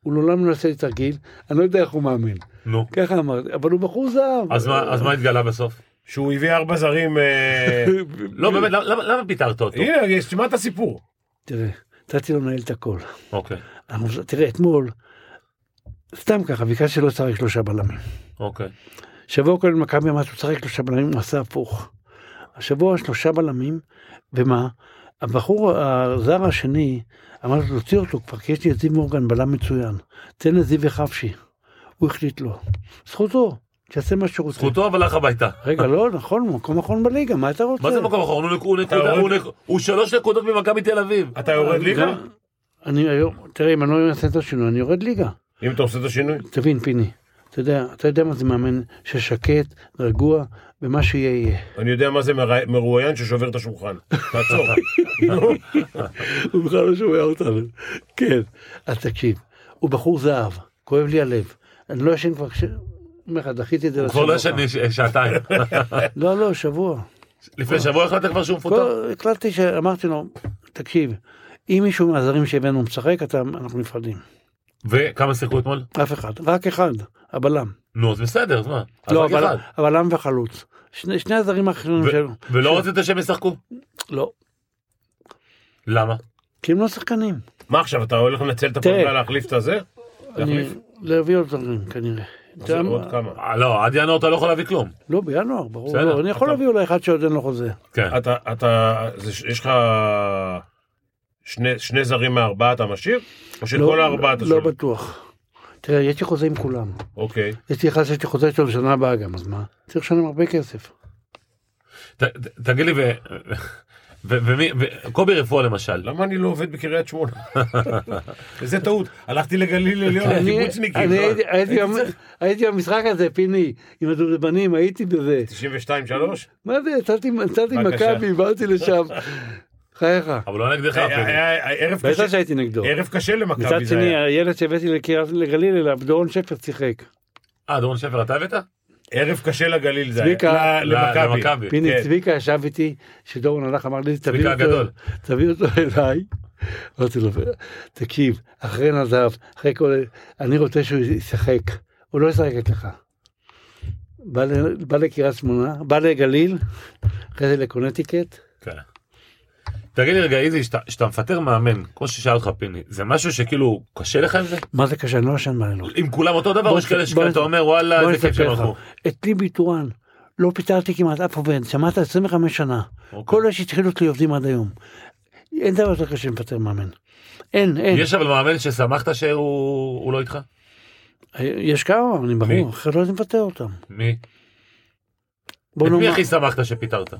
S3: הוא לעולם לא יעשה לי תרגיל, אני לא יודע איך הוא מאמן.
S1: נו.
S3: ככה אמרתי, אבל הוא בחור זהב.
S1: אז מה- אז מה התגלה בסוף?
S2: שהוא הביא ארבע זרים... אה,
S1: לא, באמת, למה- למה למה פיטרת אותו?
S3: אה?
S2: הנה, יש- תשמע את הסיפור.
S3: תראה, נתתי לו לנהל את הכל.
S1: אוקיי,
S3: אנחנו- תראה, אתמול, סתם ככה, ביקשתי שלא לשחק שלושה בלמים.
S1: אוקיי.
S3: שבוע קודם מכבי אמרת שהוא צריך שלושה בלמים, הוא עשה הפוך. השבוע שלושה בלמים, ומה? הבחור הזר השני אמר לו תוציא אותו כבר כי יש לי את זיו מורגן בלם מצוין. תן לזיו וחפשי. הוא החליט לא. זכותו, שיעשה מה שהוא רוצה.
S1: זכותו אבל הלך הביתה.
S3: רגע לא נכון הוא מקום אחרון בליגה מה אתה רוצה?
S1: מה זה מקום אחרון? הוא נק- הוא נקודה,
S2: יורד?
S1: הוא נק- הוא שלוש נקודות ממכבי תל אביב.
S2: אתה יורד ליגה?
S3: גם- אני היום תראה אם אני לא אעשה את השינוי אני יורד ליגה.
S2: אם אתה עושה את השינוי.
S3: תבין פיני. אתה יודע, אתה יודע מה זה מאמן ששקט, רגוע, ומה שיהיה יהיה.
S2: אני יודע מה זה מר- מרואיין ששובר את השולחן. תעצור.
S3: הוא בכלל לא שומע אותנו. כן. אז תקשיב, הוא בחור זהב, כואב לי הלב. אני לא ישן כבר, ש- אומר לך, דחיתי את זה
S1: הוא כבר לא ישן ש- שעתיים.
S3: לא, לא, שבוע.
S1: לפני שבוע החלטת כבר שהוא מפוטר?
S3: כל- הקלטתי שאמרתי לו, תקשיב, אם מישהו מהזרים שהבאנו משחק, אתה- אנחנו נפרדים.
S1: וכמה שיחקו אתמול?
S3: אף אחד, רק אחד, הבלם.
S1: נו, אז בסדר, אז מה? אז
S3: לא,
S1: רק
S3: אבל-
S1: אחד.
S3: הבלם וחלוץ. שני שני הזרים האחרים
S1: ו-
S3: שלו.
S1: ולא רצית שהם ישחקו?
S3: לא.
S1: למה?
S3: כי הם לא שחקנים.
S2: מה עכשיו, אתה הולך לנצל את הפרק
S3: תראה.
S2: ולהחליף את הזה?
S3: אני...
S2: להחליף?
S3: להביא עוד זרים כנראה.
S2: אז עוד כמה.
S1: אה, לא, עד ינואר אתה לא יכול להביא כלום.
S3: לא, בינואר, ברור.
S1: בסדר,
S3: לא, אני לא יכול
S2: אתה-
S3: להביא אולי אחד שעוד אין לו חוזה.
S1: כן.
S2: אתה, אתה, זה, ש- יש לך שני, שני זרים מהארבעה אתה משאיר? או של
S3: לא-
S2: כל הארבעה אתה
S3: לא
S2: שולח?
S3: בטוח. תראה, יש לי חוזה עם כולם.
S2: אוקיי.
S3: יש לי אחד שיש לי חוזה איתו לשנה הבאה גם, אז מה? צריך לשלם הרבה כסף.
S2: אה,
S1: ת- ת- תגיד לי, ו- ו- ומי, ו- קובי רפואה למשל.
S2: למה אני לא עובד בקריית שמונה? איזה טעות. הלכתי לגליל עליון,
S3: אני-
S2: לקיבוצניקים.
S3: אני
S2: לא?
S3: הייתי- הייתי
S2: הייתי
S3: במ-
S2: צריך-
S3: הייתי במשחק הזה, פיני, עם הדובדבנים, הייתי בזה.
S2: 92-3?
S3: מה זה, יצאתי יצאתי עם
S2: בבקשה.
S3: מכבי, באתי לשם. חייך.
S1: אבל לא נגדך.
S3: אה-
S2: היה-
S1: אפילו.
S2: היה- היה אה, ערב
S3: בטח
S2: קשה-
S3: שהייתי נגדו.
S2: ערב קשה
S3: מצד
S2: למכבי זה
S3: שני,
S2: היה.
S3: הילד שהבאתי לקריית- לגליל אליו, דורון שפר שיחק.
S1: אה, דורון שפר אתה הבאת?
S2: ערב קשה לגליל זה היה.
S3: צביקה-
S2: ל-
S1: ל-
S2: למכבי.
S1: למכבי.
S3: פיני
S2: כן.
S3: צביקה ישב איתי, שדורון הלך, אמר לי, תביא
S1: צביקה
S3: אותו,
S1: הגדול.
S3: תביא אותו אליי. אמרתי לו, תקשיב, אחרי נדב, אחרי כל... ה- אני רוצה שהוא ישחק, הוא לא ישחק אצלך. בא ל- בא לקריית שמונה, בא לגליל, אחרי זה לקונטיקט.
S1: כן. תגיד לי רגע, איזי, שאתה- שאתה מפטר מאמן, כמו ששאל אותך פיני, זה משהו שכאילו קשה לך עם זה?
S3: מה זה קשה, אני לא ישן בלילות.
S1: עם כולם אותו דבר, או
S3: בוא
S1: יש כאלה
S3: נס- בוא נס-
S1: שאתה אומר וואלה,
S3: בוא
S1: איזה כיף שהם
S3: נספר לך, כן.
S1: הלכו.
S3: את ליבי טורן, לא פיטרתי כמעט אף עובד, שמעת 25 שנה.
S1: אוקיי.
S3: כל אלה שהתחילו אותי עובדים עד היום. אין דבר יותר קשה מפטר מאמן. אין, אין.
S1: יש אבל מאמן ששמחת שהוא הוא לא איתך?
S3: יש כמה,
S1: מי?
S3: אני ברור, אחרת לא הייתי מפטר אותם.
S1: מי?
S3: בוא
S1: את מי
S3: נאמר,
S1: הכי שמחת שפיטרת?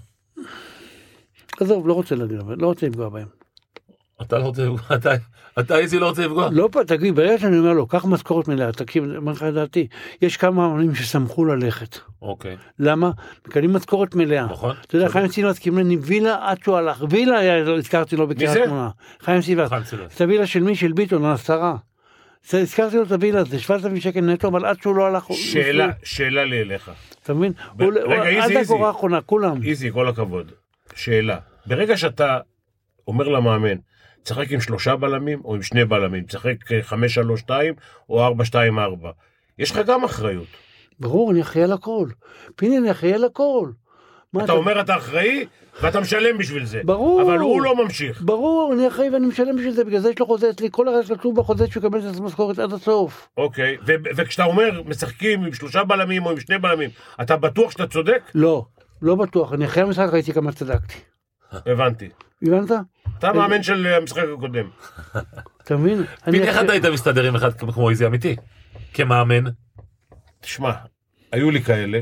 S3: עזוב, לא רוצה להגיד, אבל לא רוצה לפגוע בהם.
S1: אתה לא רוצה לפגוע, אתה- אתה איזי לא רוצה לפגוע.
S3: לא, פה, תגיד, ברגע שאני אומר לו, קח משכורת מלאה, תקשיב, אני אומר לך את דעתי, יש כמה אמנים ששמחו ללכת.
S1: אוקיי,
S3: למה? מקבלים משכורת מלאה.
S1: נכון.
S3: אתה יודע, חיים סילבס קיבלני וילה עד שהוא הלך. וילה, היה- לא הזכרתי לו בקריית
S2: זה?
S3: שמונה. חיים סילבס.
S1: חיים סילבס.
S3: את הווילה של מי? של ביטון, השרה. זה- הזכרתי לו את הווילה, זה 7,000 שקל נטו, אבל עד שהוא לא הלך... הוא-
S2: שאלה, שאלה לי אליך.
S3: אתה מבין?
S2: ב-
S3: הוא- הוא-
S2: רגע, איזי,
S3: עד
S2: איזי.
S3: הקורה האחרונה, כולם.
S2: איזי, כל הכבוד. שאלה, ברגע שאתה אומר למאמן, תשחק עם שלושה בלמים או עם שני בלמים, תשחק אה, 5-3-2 או 4-2-4, יש לך גם אחריות.
S3: ברור, אני אחראי על הכל. פיני, אני אחראי על הכל. מה
S2: אתה אומר אתה אחראי ואתה משלם בשביל זה.
S3: ברור.
S2: אבל הוא לא ממשיך.
S3: ברור, אני אחראי ואני משלם בשביל זה, בגלל זה יש לו חוזה אצלי, כל הרעש כתוב בחוזה שהוא יקבל את המשכורת עד הסוף.
S2: אוקיי, ו- וכשאתה אומר משחקים עם שלושה בלמים או עם שני בלמים, אתה בטוח שאתה צודק?
S3: לא, לא בטוח, אני אחרי המשחק ראיתי כמה צדקתי.
S2: הבנתי.
S3: הבנת?
S2: אתה מאמן של אה, המשחק הקודם.
S3: אתה מבין?
S1: פיני,
S3: אני
S1: איך
S3: אחראי-
S1: אתה היית מסתדר עם אחד כמו איזי אמיתי? כמאמן?
S2: תשמע, היו לי כאלה,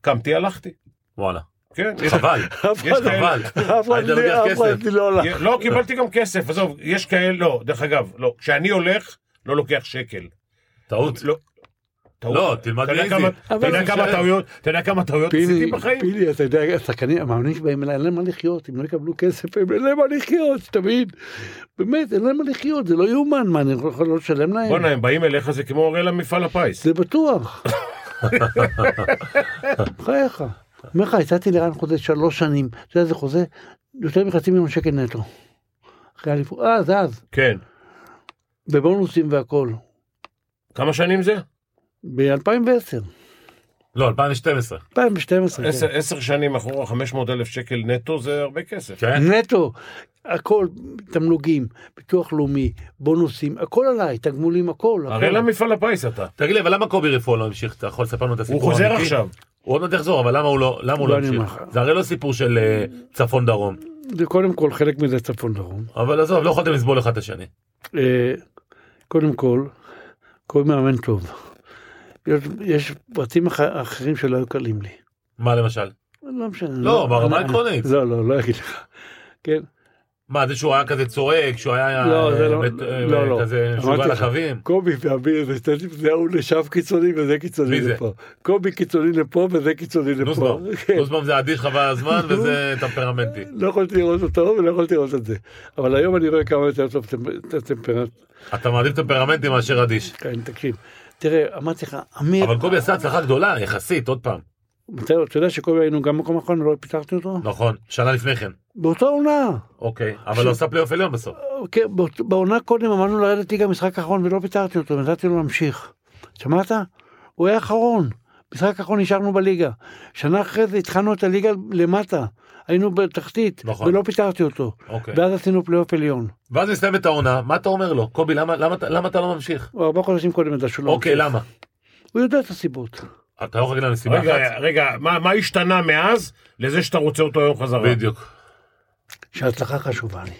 S2: קמתי, הלכתי.
S1: וואלה.
S2: כן, יש-
S1: חבל.
S2: יש לך
S1: חבל.
S3: לא- אף אחד
S1: היית לוקח
S3: לי- אף
S1: כסף.
S3: אחד לי לא הלך.
S2: לא, קיבלתי גם כסף, עזוב, יש כאלה, לא, דרך אגב, לא, כשאני הולך, לא לוקח שקל.
S1: טעות.
S2: לא. טעות.
S1: לא, תלמד
S2: אתה יודע
S1: מאיזי.
S2: כמה- אתה
S3: אבל
S2: יודע
S1: זה
S2: כמה
S1: משלם.
S2: טעויות, אתה יודע כמה טעויות עשיתי
S3: פיני,
S2: בחיים?
S3: פיני, אתה יודע, השחקנים, המאמנים שבאים אליי, אין להם מה לחיות, אם לא יקבלו כסף, הם- אין להם מה לחיות, תמיד. באמת, אין להם מה לחיות, זה לא יאומן, מה, אני יכול- יכול לא לשלם להם?
S2: בואנה, הם באים אליך, זה כמו הראל המפעל הפיס.
S3: זה בטוח. בחייך. אומר לך, הצעתי לרן חוזה שלוש שנים, אתה יודע, זה חוזה יותר מחצי מיליון שקל נטו. אחרי האליפות, אז, אז,
S2: כן.
S3: בבונוסים והכל,
S2: כמה שנים זה?
S3: ב-2010,
S1: לא, 2012.
S3: 2012,
S2: עשר
S3: כן.
S2: עשר שנים אחורה, 500 אלף שקל נטו זה הרבה כסף.
S1: כן?
S3: נטו, הכל, תמלוגים, ביטוח לאומי, בונוסים, הכל עליי, תגמולים, הכל,
S1: כן.
S2: הרי
S3: הכל.
S2: למפעל הפיס אתה.
S1: תגיד לי, אבל למה קובי רפואה לא המשיך? אתה יכול לספר לנו את
S2: הוא
S1: הסיפור
S2: חוזר
S1: האמיתי?
S2: עכשיו.
S1: הוא עוד מעט יחזור, אבל למה הוא לא למה הוא
S3: לא,
S1: לא
S3: אני
S1: המשיך?
S3: אומר לך.
S1: זה הרי לא סיפור של אה, צפון-דרום.
S3: זה קודם כל חלק מזה צפון דרום.
S1: אבל עזוב, לא יכולתם לסבול אחד את השני.
S3: אה, קודם כל, כל מאמן טוב. יש- יש פרטים אח- אחרים שלא היו קלים לי.
S1: מה למשל?
S3: לא משנה.
S1: לא, ברמה
S3: אני-
S1: העקרונית.
S3: לא, לא, לא אגיד לך. כן,
S1: מה, זה שהוא היה כזה צועק, שהוא היה
S3: לא, זה
S1: אה,
S3: לא-
S1: בית- אה,
S3: לא, לא.
S1: כזה משוגע
S3: אמרתי
S1: על
S3: לך.
S1: הקווים?
S3: קובי ואביר זה שתי- זה הוא לשם קיצוני וזה קיצוני
S1: מי זה?
S3: לפה. קובי קיצוני לפה וזה קיצוני לפה.
S1: נוסבאום.
S3: כן.
S1: נוסבאום זה אדיש חבל על הזמן וזה טמפרמנטי.
S3: לא יכולתי לראות אותו ולא יכולתי לראות את זה. אבל היום אני רואה כמה יותר טוב טמפ- את הטמפרנט.
S1: אתה מעדיף טמפרמנטי מאשר אדיש.
S3: כן, תקשיב. תראה, אמרתי לך, אמיר,
S1: אבל קובי עשה הצלחה גדולה, יחסית, עוד פעם.
S3: מתי- אתה יודע שקובי היינו גם במקום האחרון ולא פיתחתי אותו?
S1: נכון, שנה לפני כן.
S3: באותה עונה.
S1: אוקיי, אבל הוא עשה פלייאוף עליון בסוף.
S3: אוקיי, באות- בעונה קודם אמרנו לרדת ליגה משחק אחרון ולא פיטרתי אותו, נתתי לו להמשיך. שמעת? הוא היה אחרון. משחק אחרון נשארנו בליגה. שנה אחרי זה התחלנו את הליגה למטה. היינו בתחתית,
S1: נכון.
S3: ולא פיטרתי אותו.
S1: אוקיי.
S3: ואז עשינו פלייאוף עליון.
S1: ואז מסתיימת העונה, מה אתה אומר לו? קובי, למה- למה אתה- למה אתה לא ממשיך?
S3: הוא ארבעה חודשים קודם ידע שהוא לא
S1: אוקיי,
S3: ממשיך.
S1: למה?
S3: הוא יודע את הסיבות.
S1: אתה לא יכול להגיד לנו סיבה
S2: רגע,
S3: אוקיי.
S1: אחת?
S2: רגע, מה מה השתנה מאז לזה שאתה רוצה אותו היום חזרה?
S1: בדיוק.
S3: שההצלחה חשובה לי.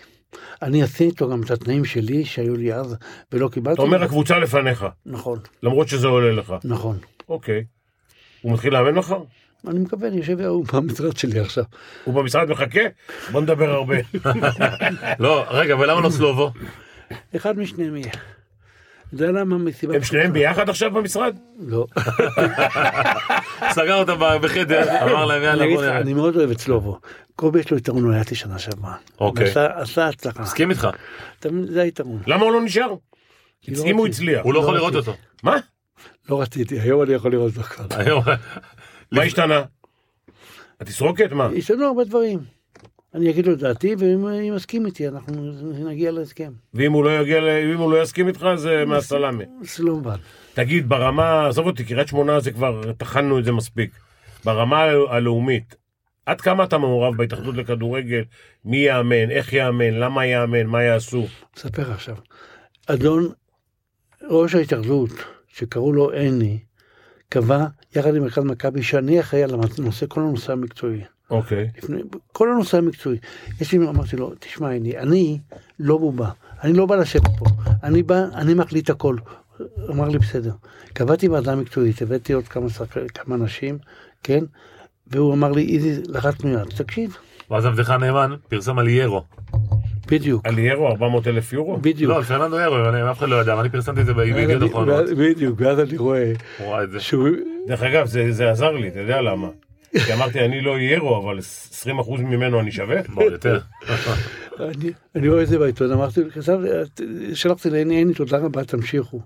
S3: אני עשיתי איתו גם את התנאים שלי שהיו לי אז, ולא קיבלתי.
S2: אתה אומר הקבוצה לפניך,
S3: נכון,
S2: למרות שזה עולה לך.
S3: נכון.
S2: אוקיי. הוא מתחיל לאמן מחר?
S3: אני מקווה, אני יושב הוא במשרד שלי עכשיו.
S2: הוא במשרד מחכה? בוא נדבר הרבה.
S1: לא, רגע, ולמה לא סלובו?
S3: אחד משניהם יהיה. אתה יודע למה מסיבה?
S2: הם שניהם ביחד עכשיו במשרד?
S3: לא.
S1: סגר אותם ב- בחדר, אמר להם
S3: אני
S1: יאללה
S3: אגיד
S1: בוא
S3: לך,
S1: נראה.
S3: אני מאוד אוהב את סלובו. קובי יש לו יתרון, הוא היה איתי שנה שעברה.
S1: אוקיי.
S3: עשה- עשה הצלחה.
S1: מסכים איתך,
S3: אתה מבין, זה היתרון.
S2: למה הוא לא נשאר?
S3: כי לא
S2: אם הוא
S3: רציתי.
S2: הצליח.
S1: הוא לא יכול
S3: לא
S1: לראות
S3: רציתי.
S1: אותו.
S2: מה?
S3: לא רציתי, היום אני יכול לראות אותו כבר.
S1: היום-
S2: מה השתנה? התסרוקת? מה?
S3: השתנו הרבה דברים. אני אגיד לו את דעתי, ואם אם יסכים איתי, אנחנו נגיע להסכם.
S2: ואם הוא לא יגיע, ל- אם הוא לא יסכים איתך, זה מהסלאמי.
S3: סלומבן.
S2: תגיד, ברמה, עזוב אותי, קריית שמונה זה כבר, טחנו את זה מספיק. ברמה ה- הלאומית, עד כמה אתה מעורב בהתאחדות לכדורגל? מי יאמן? איך יאמן? למה יאמן? מה יעשו?
S3: אספר עכשיו. אדון ראש ההתאחדות, שקראו לו הני, קבע יחד עם מרכז מכבי שאני אחראי על הנושא, כל הנושא המקצועי.
S2: אוקיי.
S3: לפני, כל הנושא המקצועי. יש לי, אמרתי לו, תשמע, אני, אני לא בובה, אני לא בא לשבת פה, אני בא, אני מחליט הכל. אמר לי, בסדר. קבעתי ועדה מקצועית, הבאתי עוד כמה, שחק- כמה אנשים, כן? והוא אמר לי, איזי, לחצנו יד, תקשיב,
S1: ואז עבדך נאמן פרסם על יארו.
S3: בדיוק,
S2: על ירו 400 אלף יורו?
S3: בדיוק.
S1: לא, על פרננדו יארו, אבל אני- אף אחד לא ידע, אבל אני פרסמתי את זה בידיעות
S3: ואז-
S1: אחרונות.
S3: בדיוק, ואז אני רואה
S1: הוא ראה את זה.
S3: שהוא...
S2: דרך אגב, זה, זה עזר לי, אתה יודע למה? כי אמרתי, אני לא ירו, אבל 20% ממנו אני שווה.
S1: מאוד יותר.
S3: כן. אני, אני רואה את זה בעיתון, אמרתי לו, כתב, שלחתי לעיני עיני, תודה רבה, תמשיכו.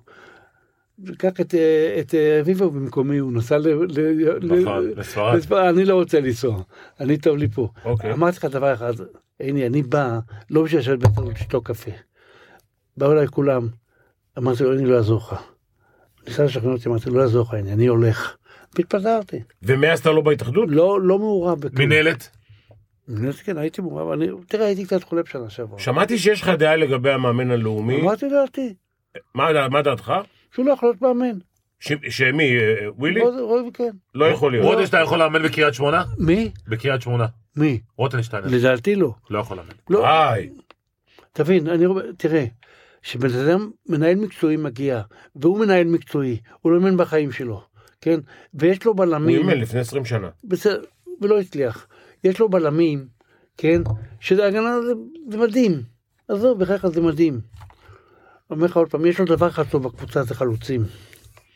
S3: קח את, אה, את אה, רביבו במקומי, הוא נסע ל... ל-
S1: נכון,
S3: ל-
S1: לספרד.
S3: לספרד, אני לא רוצה לנסוע, אני טוב לי פה.
S2: אוקיי.
S3: אמרתי לך דבר אחד, עיני, אני בא, לא בשביל לשבת בצד ולשתות קפה. באו אליי כולם, אמרתי לו, עיני, לא יעזור לך. ניסה לשכנע אותי, אמרתי, לא יעזור לך, עיני, אני הולך. התפזרתי,
S2: ומאז אתה לא בהתאחדות?
S3: לא, לא מעורב בכלום.
S1: מינהלת?
S3: מנהלת, כן, הייתי מעורב, אני, תראה, הייתי קצת חולה בשנה שעברה.
S2: שמעתי שיש לך דעה לגבי המאמן הלאומי.
S3: אמרתי דעתי.
S2: מה, מה דעתך?
S3: שהוא לא יכול להיות מאמן.
S2: ש, שמי, אה, ווילי?
S3: רוב- רוב כן.
S2: לא יכול להיות.
S1: רוטנשטיין יכול לאמן בקריית שמונה?
S3: מי?
S1: בקריית שמונה.
S3: מי?
S1: רוטנשטיין
S3: לדעתי לא.
S1: לא יכול לאמן.
S3: לא.
S2: וואי,
S3: תבין, אני רואה, תראה, כשבן אדם, מנהל מקצועי מגיע, והוא מנהל מקצועי, הוא לא אימן בחיים שלו, כן? ויש לו
S2: הוא
S3: בלמים,
S2: אימן לפני 20 שנה.
S3: בסדר, ולא הצליח. יש לו בלמים, כן? שזה הגנה, זה, זה מדהים. עזוב, בחייך זה מדהים. אומר לך עוד פעם, יש לו דבר אחד טוב בקבוצה, זה חלוצים.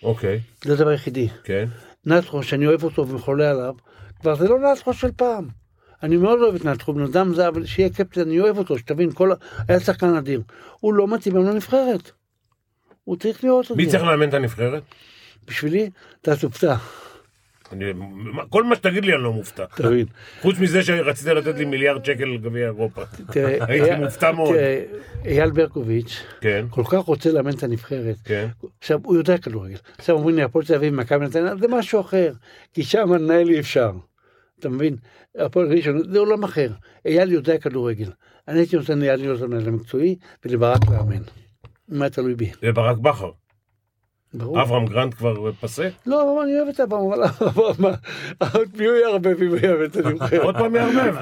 S2: אוקיי,
S3: זה הדבר היחידי.
S2: כן.
S3: נטחו שאני אוהב אותו וחולה עליו, כבר זה לא נטחו של פעם. אני מאוד אוהב את נטחו, בן אדם זה, אבל שיהיה קפטן, אני אוהב אותו, שתבין, כל... ה- היה שחקן אדיר. הוא לא מתאים היום לנבחרת. הוא צריך להיות...
S2: מי
S3: אדיר.
S2: צריך לאמן את הנבחרת?
S3: בשבילי, אתה תופתע.
S2: אני- מה- כל מה שתגיד לי אני לא מופתע.
S3: תבין.
S2: חוץ מזה שרצית לתת לי מיליארד שקל גביע אירופה.
S3: תראה,
S2: הייתי
S3: אייל-
S2: מופתע מאוד.
S3: תראה, אייל ברקוביץ'
S2: כן,
S3: כל כך רוצה לאמן את הנבחרת.
S2: כן.
S3: עכשיו, הוא יודע כדורגל. עכשיו אומרים לי, הפועל תל אביב, מכבי נתניה, זה משהו אחר. כי שם לנהל אי אפשר. אתה מבין? הפועל ראשון, זה עולם אחר. אייל יודע כדורגל. אני הייתי נותן לאייל להיות המנהל המקצועי, ולברק לאמן. מה תלוי בי?
S2: זה ברק בכר.
S3: ברור.
S2: אברהם גרנט כבר פסה?
S3: לא, אני אוהב את אברהם, אבל אברהם, עוד מי הוא יערבב אם הוא יאהב את הנבחרת?
S2: עוד פעם יערבב.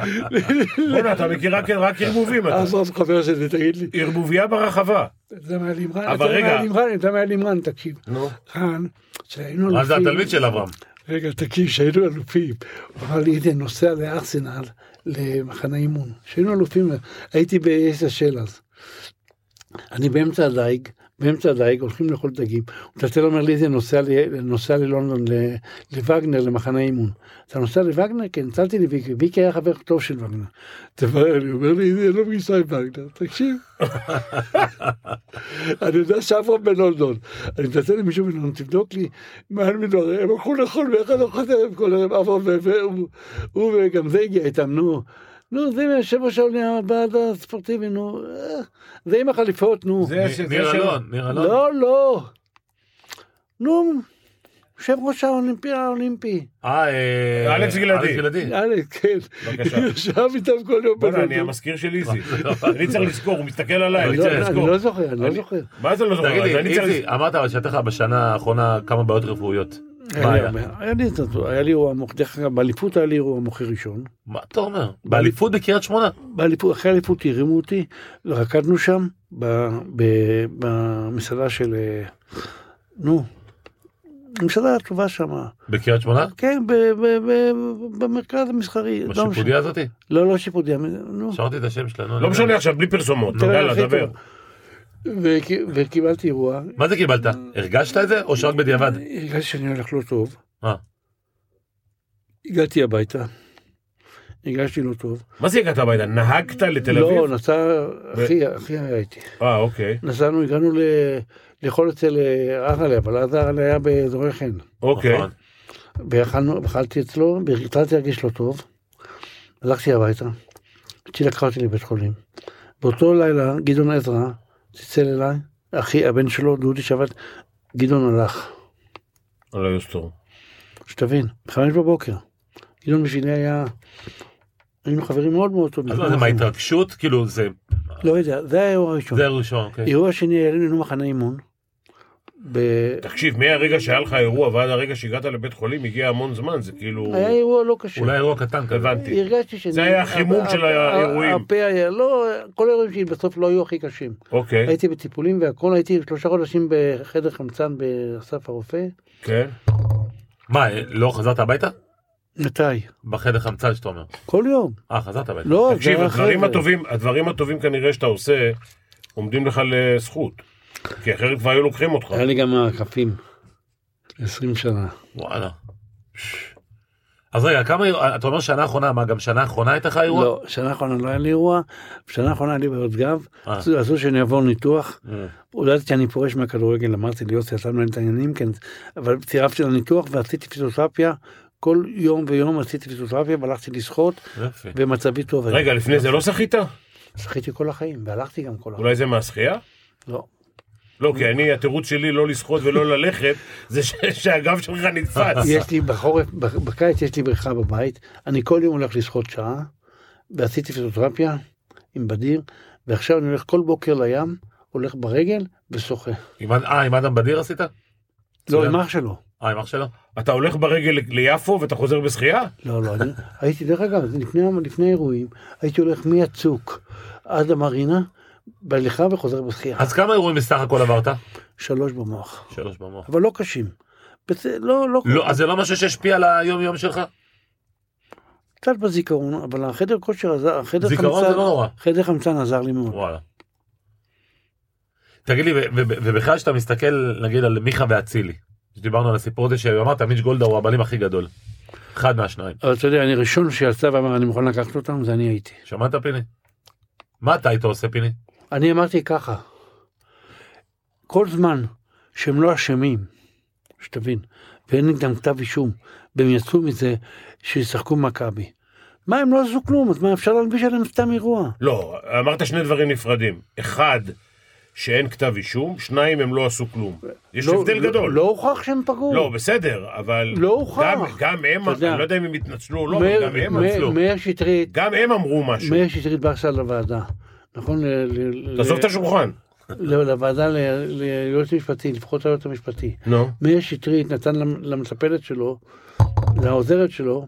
S2: בוא'נה, אתה מכיר רק- רק ערבובים. אתה.
S3: אברהם חבר שלי, תגיד לי.
S2: ערבוביה ברחבה.
S3: אתה יודע מה היה לי עם רן?
S2: אבל
S3: אתה יודע מה
S2: רגע.
S3: היה לי עם רן? אתה יודע מה היה לי עם רן? תקשיב.
S2: נו.
S3: רן, כשהיינו אלופים...
S1: אז אה, זה התלמיד של אברהם.
S3: רגע, תקשיב, כשהיינו אלופים, הוא אמר לי, הנה, נוסע לארסנל, למחנה אימון. כשהיינו אלופים, הייתי בעשר של אז. אני באמצע הדייג, באמצע הדייג, הולכים לאכול דגים. מטלטל אומר לי, זה נוסע, ל- נוסע ללונדון, ל- לווגנר, למחנה אימון. אתה נוסע לווגנר? כן, נצלתי לוויקי, ויקי היה חבר טוב של וגנר. תברר לי, הוא אומר לי, זה לא פגישה עם וגנר, תקשיב. אני יודע שאברהם בלונדון. אני מטלטל למישהו בלונדון, תבדוק לי מה הם מדברים, הם הלכו לאכול ואחד לא חוזר עם כל ערב, אברהם ו- והוא- הוא וגם זה הגיע איתם, נו. נו, זה מהשבע שעולה בעד הספורטיבי, נו. אה, זה עם החליפות, נו.
S2: זה ש- זה
S1: ניר
S2: ש-
S1: אלון, ניר אלון.
S3: לא, לא. נו, יושב ראש האולימפי האולימפי.
S1: אה, אה,
S2: אלכס גלעדי.
S1: אלכס גלעדי.
S3: אלכס, כן.
S2: בבקשה.
S3: ישב איתם כל יום
S2: בוא'נה, אני
S3: בלונדון.
S2: המזכיר של איזי. אני צריך לזכור, הוא מסתכל עליי, אני
S1: לא,
S2: צריך
S1: לא,
S2: לזכור.
S3: אני לא זוכר, אני לא
S2: אני-
S3: זוכר.
S2: מה זה לא זוכר?
S1: תגיד
S2: אז
S1: לי,
S2: אני צריך
S1: איזי, אמרת אבל שהייתה לך בשנה האחרונה כמה בעיות רפואיות. מה היה?
S3: היה לי את זה, היה לי אירוע מוח, דרך אגב, באליפות היה לי אירוע מוחי ראשון.
S1: מה אתה אומר? באליפות בקריית שמונה.
S3: באליפות, אחרי האליפות הרימו אותי, רקדנו שם ב- ב- במסעדה של, אה, נו, המסעדה הטובה שם.
S1: בקריית שמונה?
S3: כן, ב- ב- ב- במרכז המסחרי. לא משנה.
S1: בשיפודיה הזאתי?
S3: לא, לא שיפודיה, נו.
S1: שמעתי את השם שלנו.
S2: לא משנה עכשיו, בלי פרסומות.
S3: תראה,
S2: יאללה,
S3: הכי
S2: דבר.
S3: טוב. וכי- וקיבלתי אירוע,
S1: מה זה קיבלת? הרגשת את זה או שרק בדיעבד?
S3: הרגשתי שאני הולך לא טוב,
S1: אה,
S3: הגעתי הביתה, הרגשתי לא טוב.
S2: מה זה הגעת הביתה? נהגת לתל
S3: לא,
S2: אביב?
S3: נסע, אחי, אחי היה איתי.
S2: אה, אוקיי.
S3: נסענו, הגענו ל- לאכול אצל אה, אהרלה, אבל אז אהרלה היה באזורי חן.
S2: אוקיי.
S1: נכון.
S3: ואכלנו, אכלתי אצלו, והתחלתי להרגיש לא טוב. הלכתי הביתה, אשתי לקחה אותי לבית חולים. באותו לילה גדעון עזרא צלצל אליי, אחי, הבן שלו, דודי שבת, גדעון הלך.
S2: על היוסטור.
S3: שתבין, חמש בבוקר. גדעון בשבילי היה, היינו חברים מאוד מאוד טובים.
S1: אז
S2: לא
S1: מה זה, מה ההתרגשות? כאילו זה...
S3: לא יודע, זה היה האירוע הראשון.
S1: זה הראשון, אוקיי.
S3: אירוע שני, היה לנו מחנה אימון. ב...
S2: תקשיב, מהרגע שהיה לך אירוע ועד הרגע שהגעת לבית חולים הגיע המון זמן, זה כאילו...
S3: היה אירוע לא קשה.
S1: אולי אירוע קטן כזה.
S2: הבנתי.
S3: הרגשתי שזה...
S2: זה היה החימום של האירועים.
S3: הפה היה, לא, כל האירועים שלי בסוף לא היו הכי קשים.
S2: אוקיי,
S3: הייתי בטיפולים והכל, הייתי שלושה חודשים בחדר חמצן באסף הרופא.
S2: כן.
S1: מה, אה, לא חזרת הביתה?
S3: מתי?
S1: בחדר חמצן שאתה אומר.
S3: כל יום.
S1: אה, חזרת הביתה.
S3: לא, זה
S2: תקשיב,
S3: היה אחרי
S2: הדברים
S3: זה.
S2: הטובים, הדברים הטובים כנראה שאתה עושה, עומדים לך לזכות. כי אחרת כבר היו לוקחים אותך.
S3: היה לי גם מעקפים. 20 שנה.
S1: וואלה. אז רגע, כמה... אירוע- אתה אומר שנה אחרונה, מה, גם שנה אחרונה הייתה לך אירוע?
S3: לא, שנה אחרונה לא היה לי אירוע, שנה אחרונה היה לי בעיות גב,
S1: אה.
S3: עשו- עשו שאני אעבור ניתוח,
S1: אה.
S3: הודעתי שאני פורש מהכדורגל, אמרתי ליוסי, אתה מנהל את העניינים, כן, אבל צירפתי לניתוח ועשיתי פיזיותרפיה, כל יום ויום עשיתי פיזיותרפיה והלכתי לשחות,
S1: יופי.
S3: ומצבי טוב. היה.
S2: רגע, לפני זה לא שחית?
S3: שחיתי כל החיים, והלכתי גם כל החיים.
S2: אולי זה מהשחייה?
S3: לא.
S2: לא, כי אני, התירוץ שלי לא לשחות ולא ללכת, זה ש- שהגב שלך נתפס.
S3: יש לי בחורף, בח- בקיץ יש לי בריכה בבית, אני כל יום הולך לשחות שעה, ועשיתי פיזיותרפיה עם בדיר, ועכשיו אני הולך כל בוקר לים, הולך ברגל ושוחה.
S1: עם אד- אה, עם אדם בדיר עשית?
S3: לא,
S1: מצוין.
S3: עם אח שלו.
S1: אה, עם אח שלו?
S2: אתה הולך ברגל ליפו ואתה חוזר בשחייה?
S3: לא, לא, אני הייתי, דרך אגב, זה לפני, לפני אירועים, הייתי הולך מהצוק עד המרינה, בהליכה וחוזר בשחייה.
S1: אז כמה אירועים בסך הכל עברת?
S3: שלוש במוח,
S1: שלוש במוח.
S3: אבל לא קשים. בצ... לא, לא,
S1: לא, אז זה לא משהו שהשפיע על היום-יום שלך?
S3: קצת בזיכרון, אבל החדר כושר עזר, החדר
S1: זיכרון
S3: חמצן,
S1: זה לא נורא.
S3: חדר חמצן עזר לי מאוד.
S1: וואלה. תגיד לי, ו- ו- ובכלל שאתה מסתכל נגיד על מיכה ואצילי, שדיברנו על הסיפור הזה שהוא אמרת מיץ' גולדה הוא הבעלים הכי גדול. אחד מהשניים.
S3: אבל אתה יודע, אני ראשון שיצא ואמר, אני מוכן לקחת אותם, זה אני הייתי.
S1: שמעת פיני? מה אתה היית עושה פיני?
S3: אני אמרתי ככה, כל זמן שהם לא אשמים, שתבין, ואין נגדם כתב אישום, והם יצאו מזה שישחקו מכבי. מה, הם לא עשו כלום, אז מה, אפשר להלביש עליהם סתם אירוע.
S2: לא, אמרת שני דברים נפרדים. אחד, שאין כתב אישום, שניים, הם לא עשו כלום. יש
S3: לא-
S2: הבדל
S3: לא-
S2: גדול.
S3: לא הוכח שהם פגעו.
S2: לא, בסדר, אבל...
S3: לא הוכח.
S2: גם, גם הם,
S3: אתה יודע.
S2: אני לא יודע אם הם התנצלו או לא,
S3: מאיר-
S2: אבל גם הם
S3: מאיר-
S2: התנצלו.
S3: מאיר שטרית,
S2: גם הם אמרו משהו.
S3: מאיר שטרית בא עכשיו לוועדה. נכון? ל- ל-
S2: תעזוב את
S3: ל-
S2: השולחן.
S3: לא, לוועדה ל- ליועץ משפטי, לפחות היועץ המשפטי.
S2: נו.
S3: מאיר שטרית נתן למ- למטפלת שלו, לעוזרת שלו,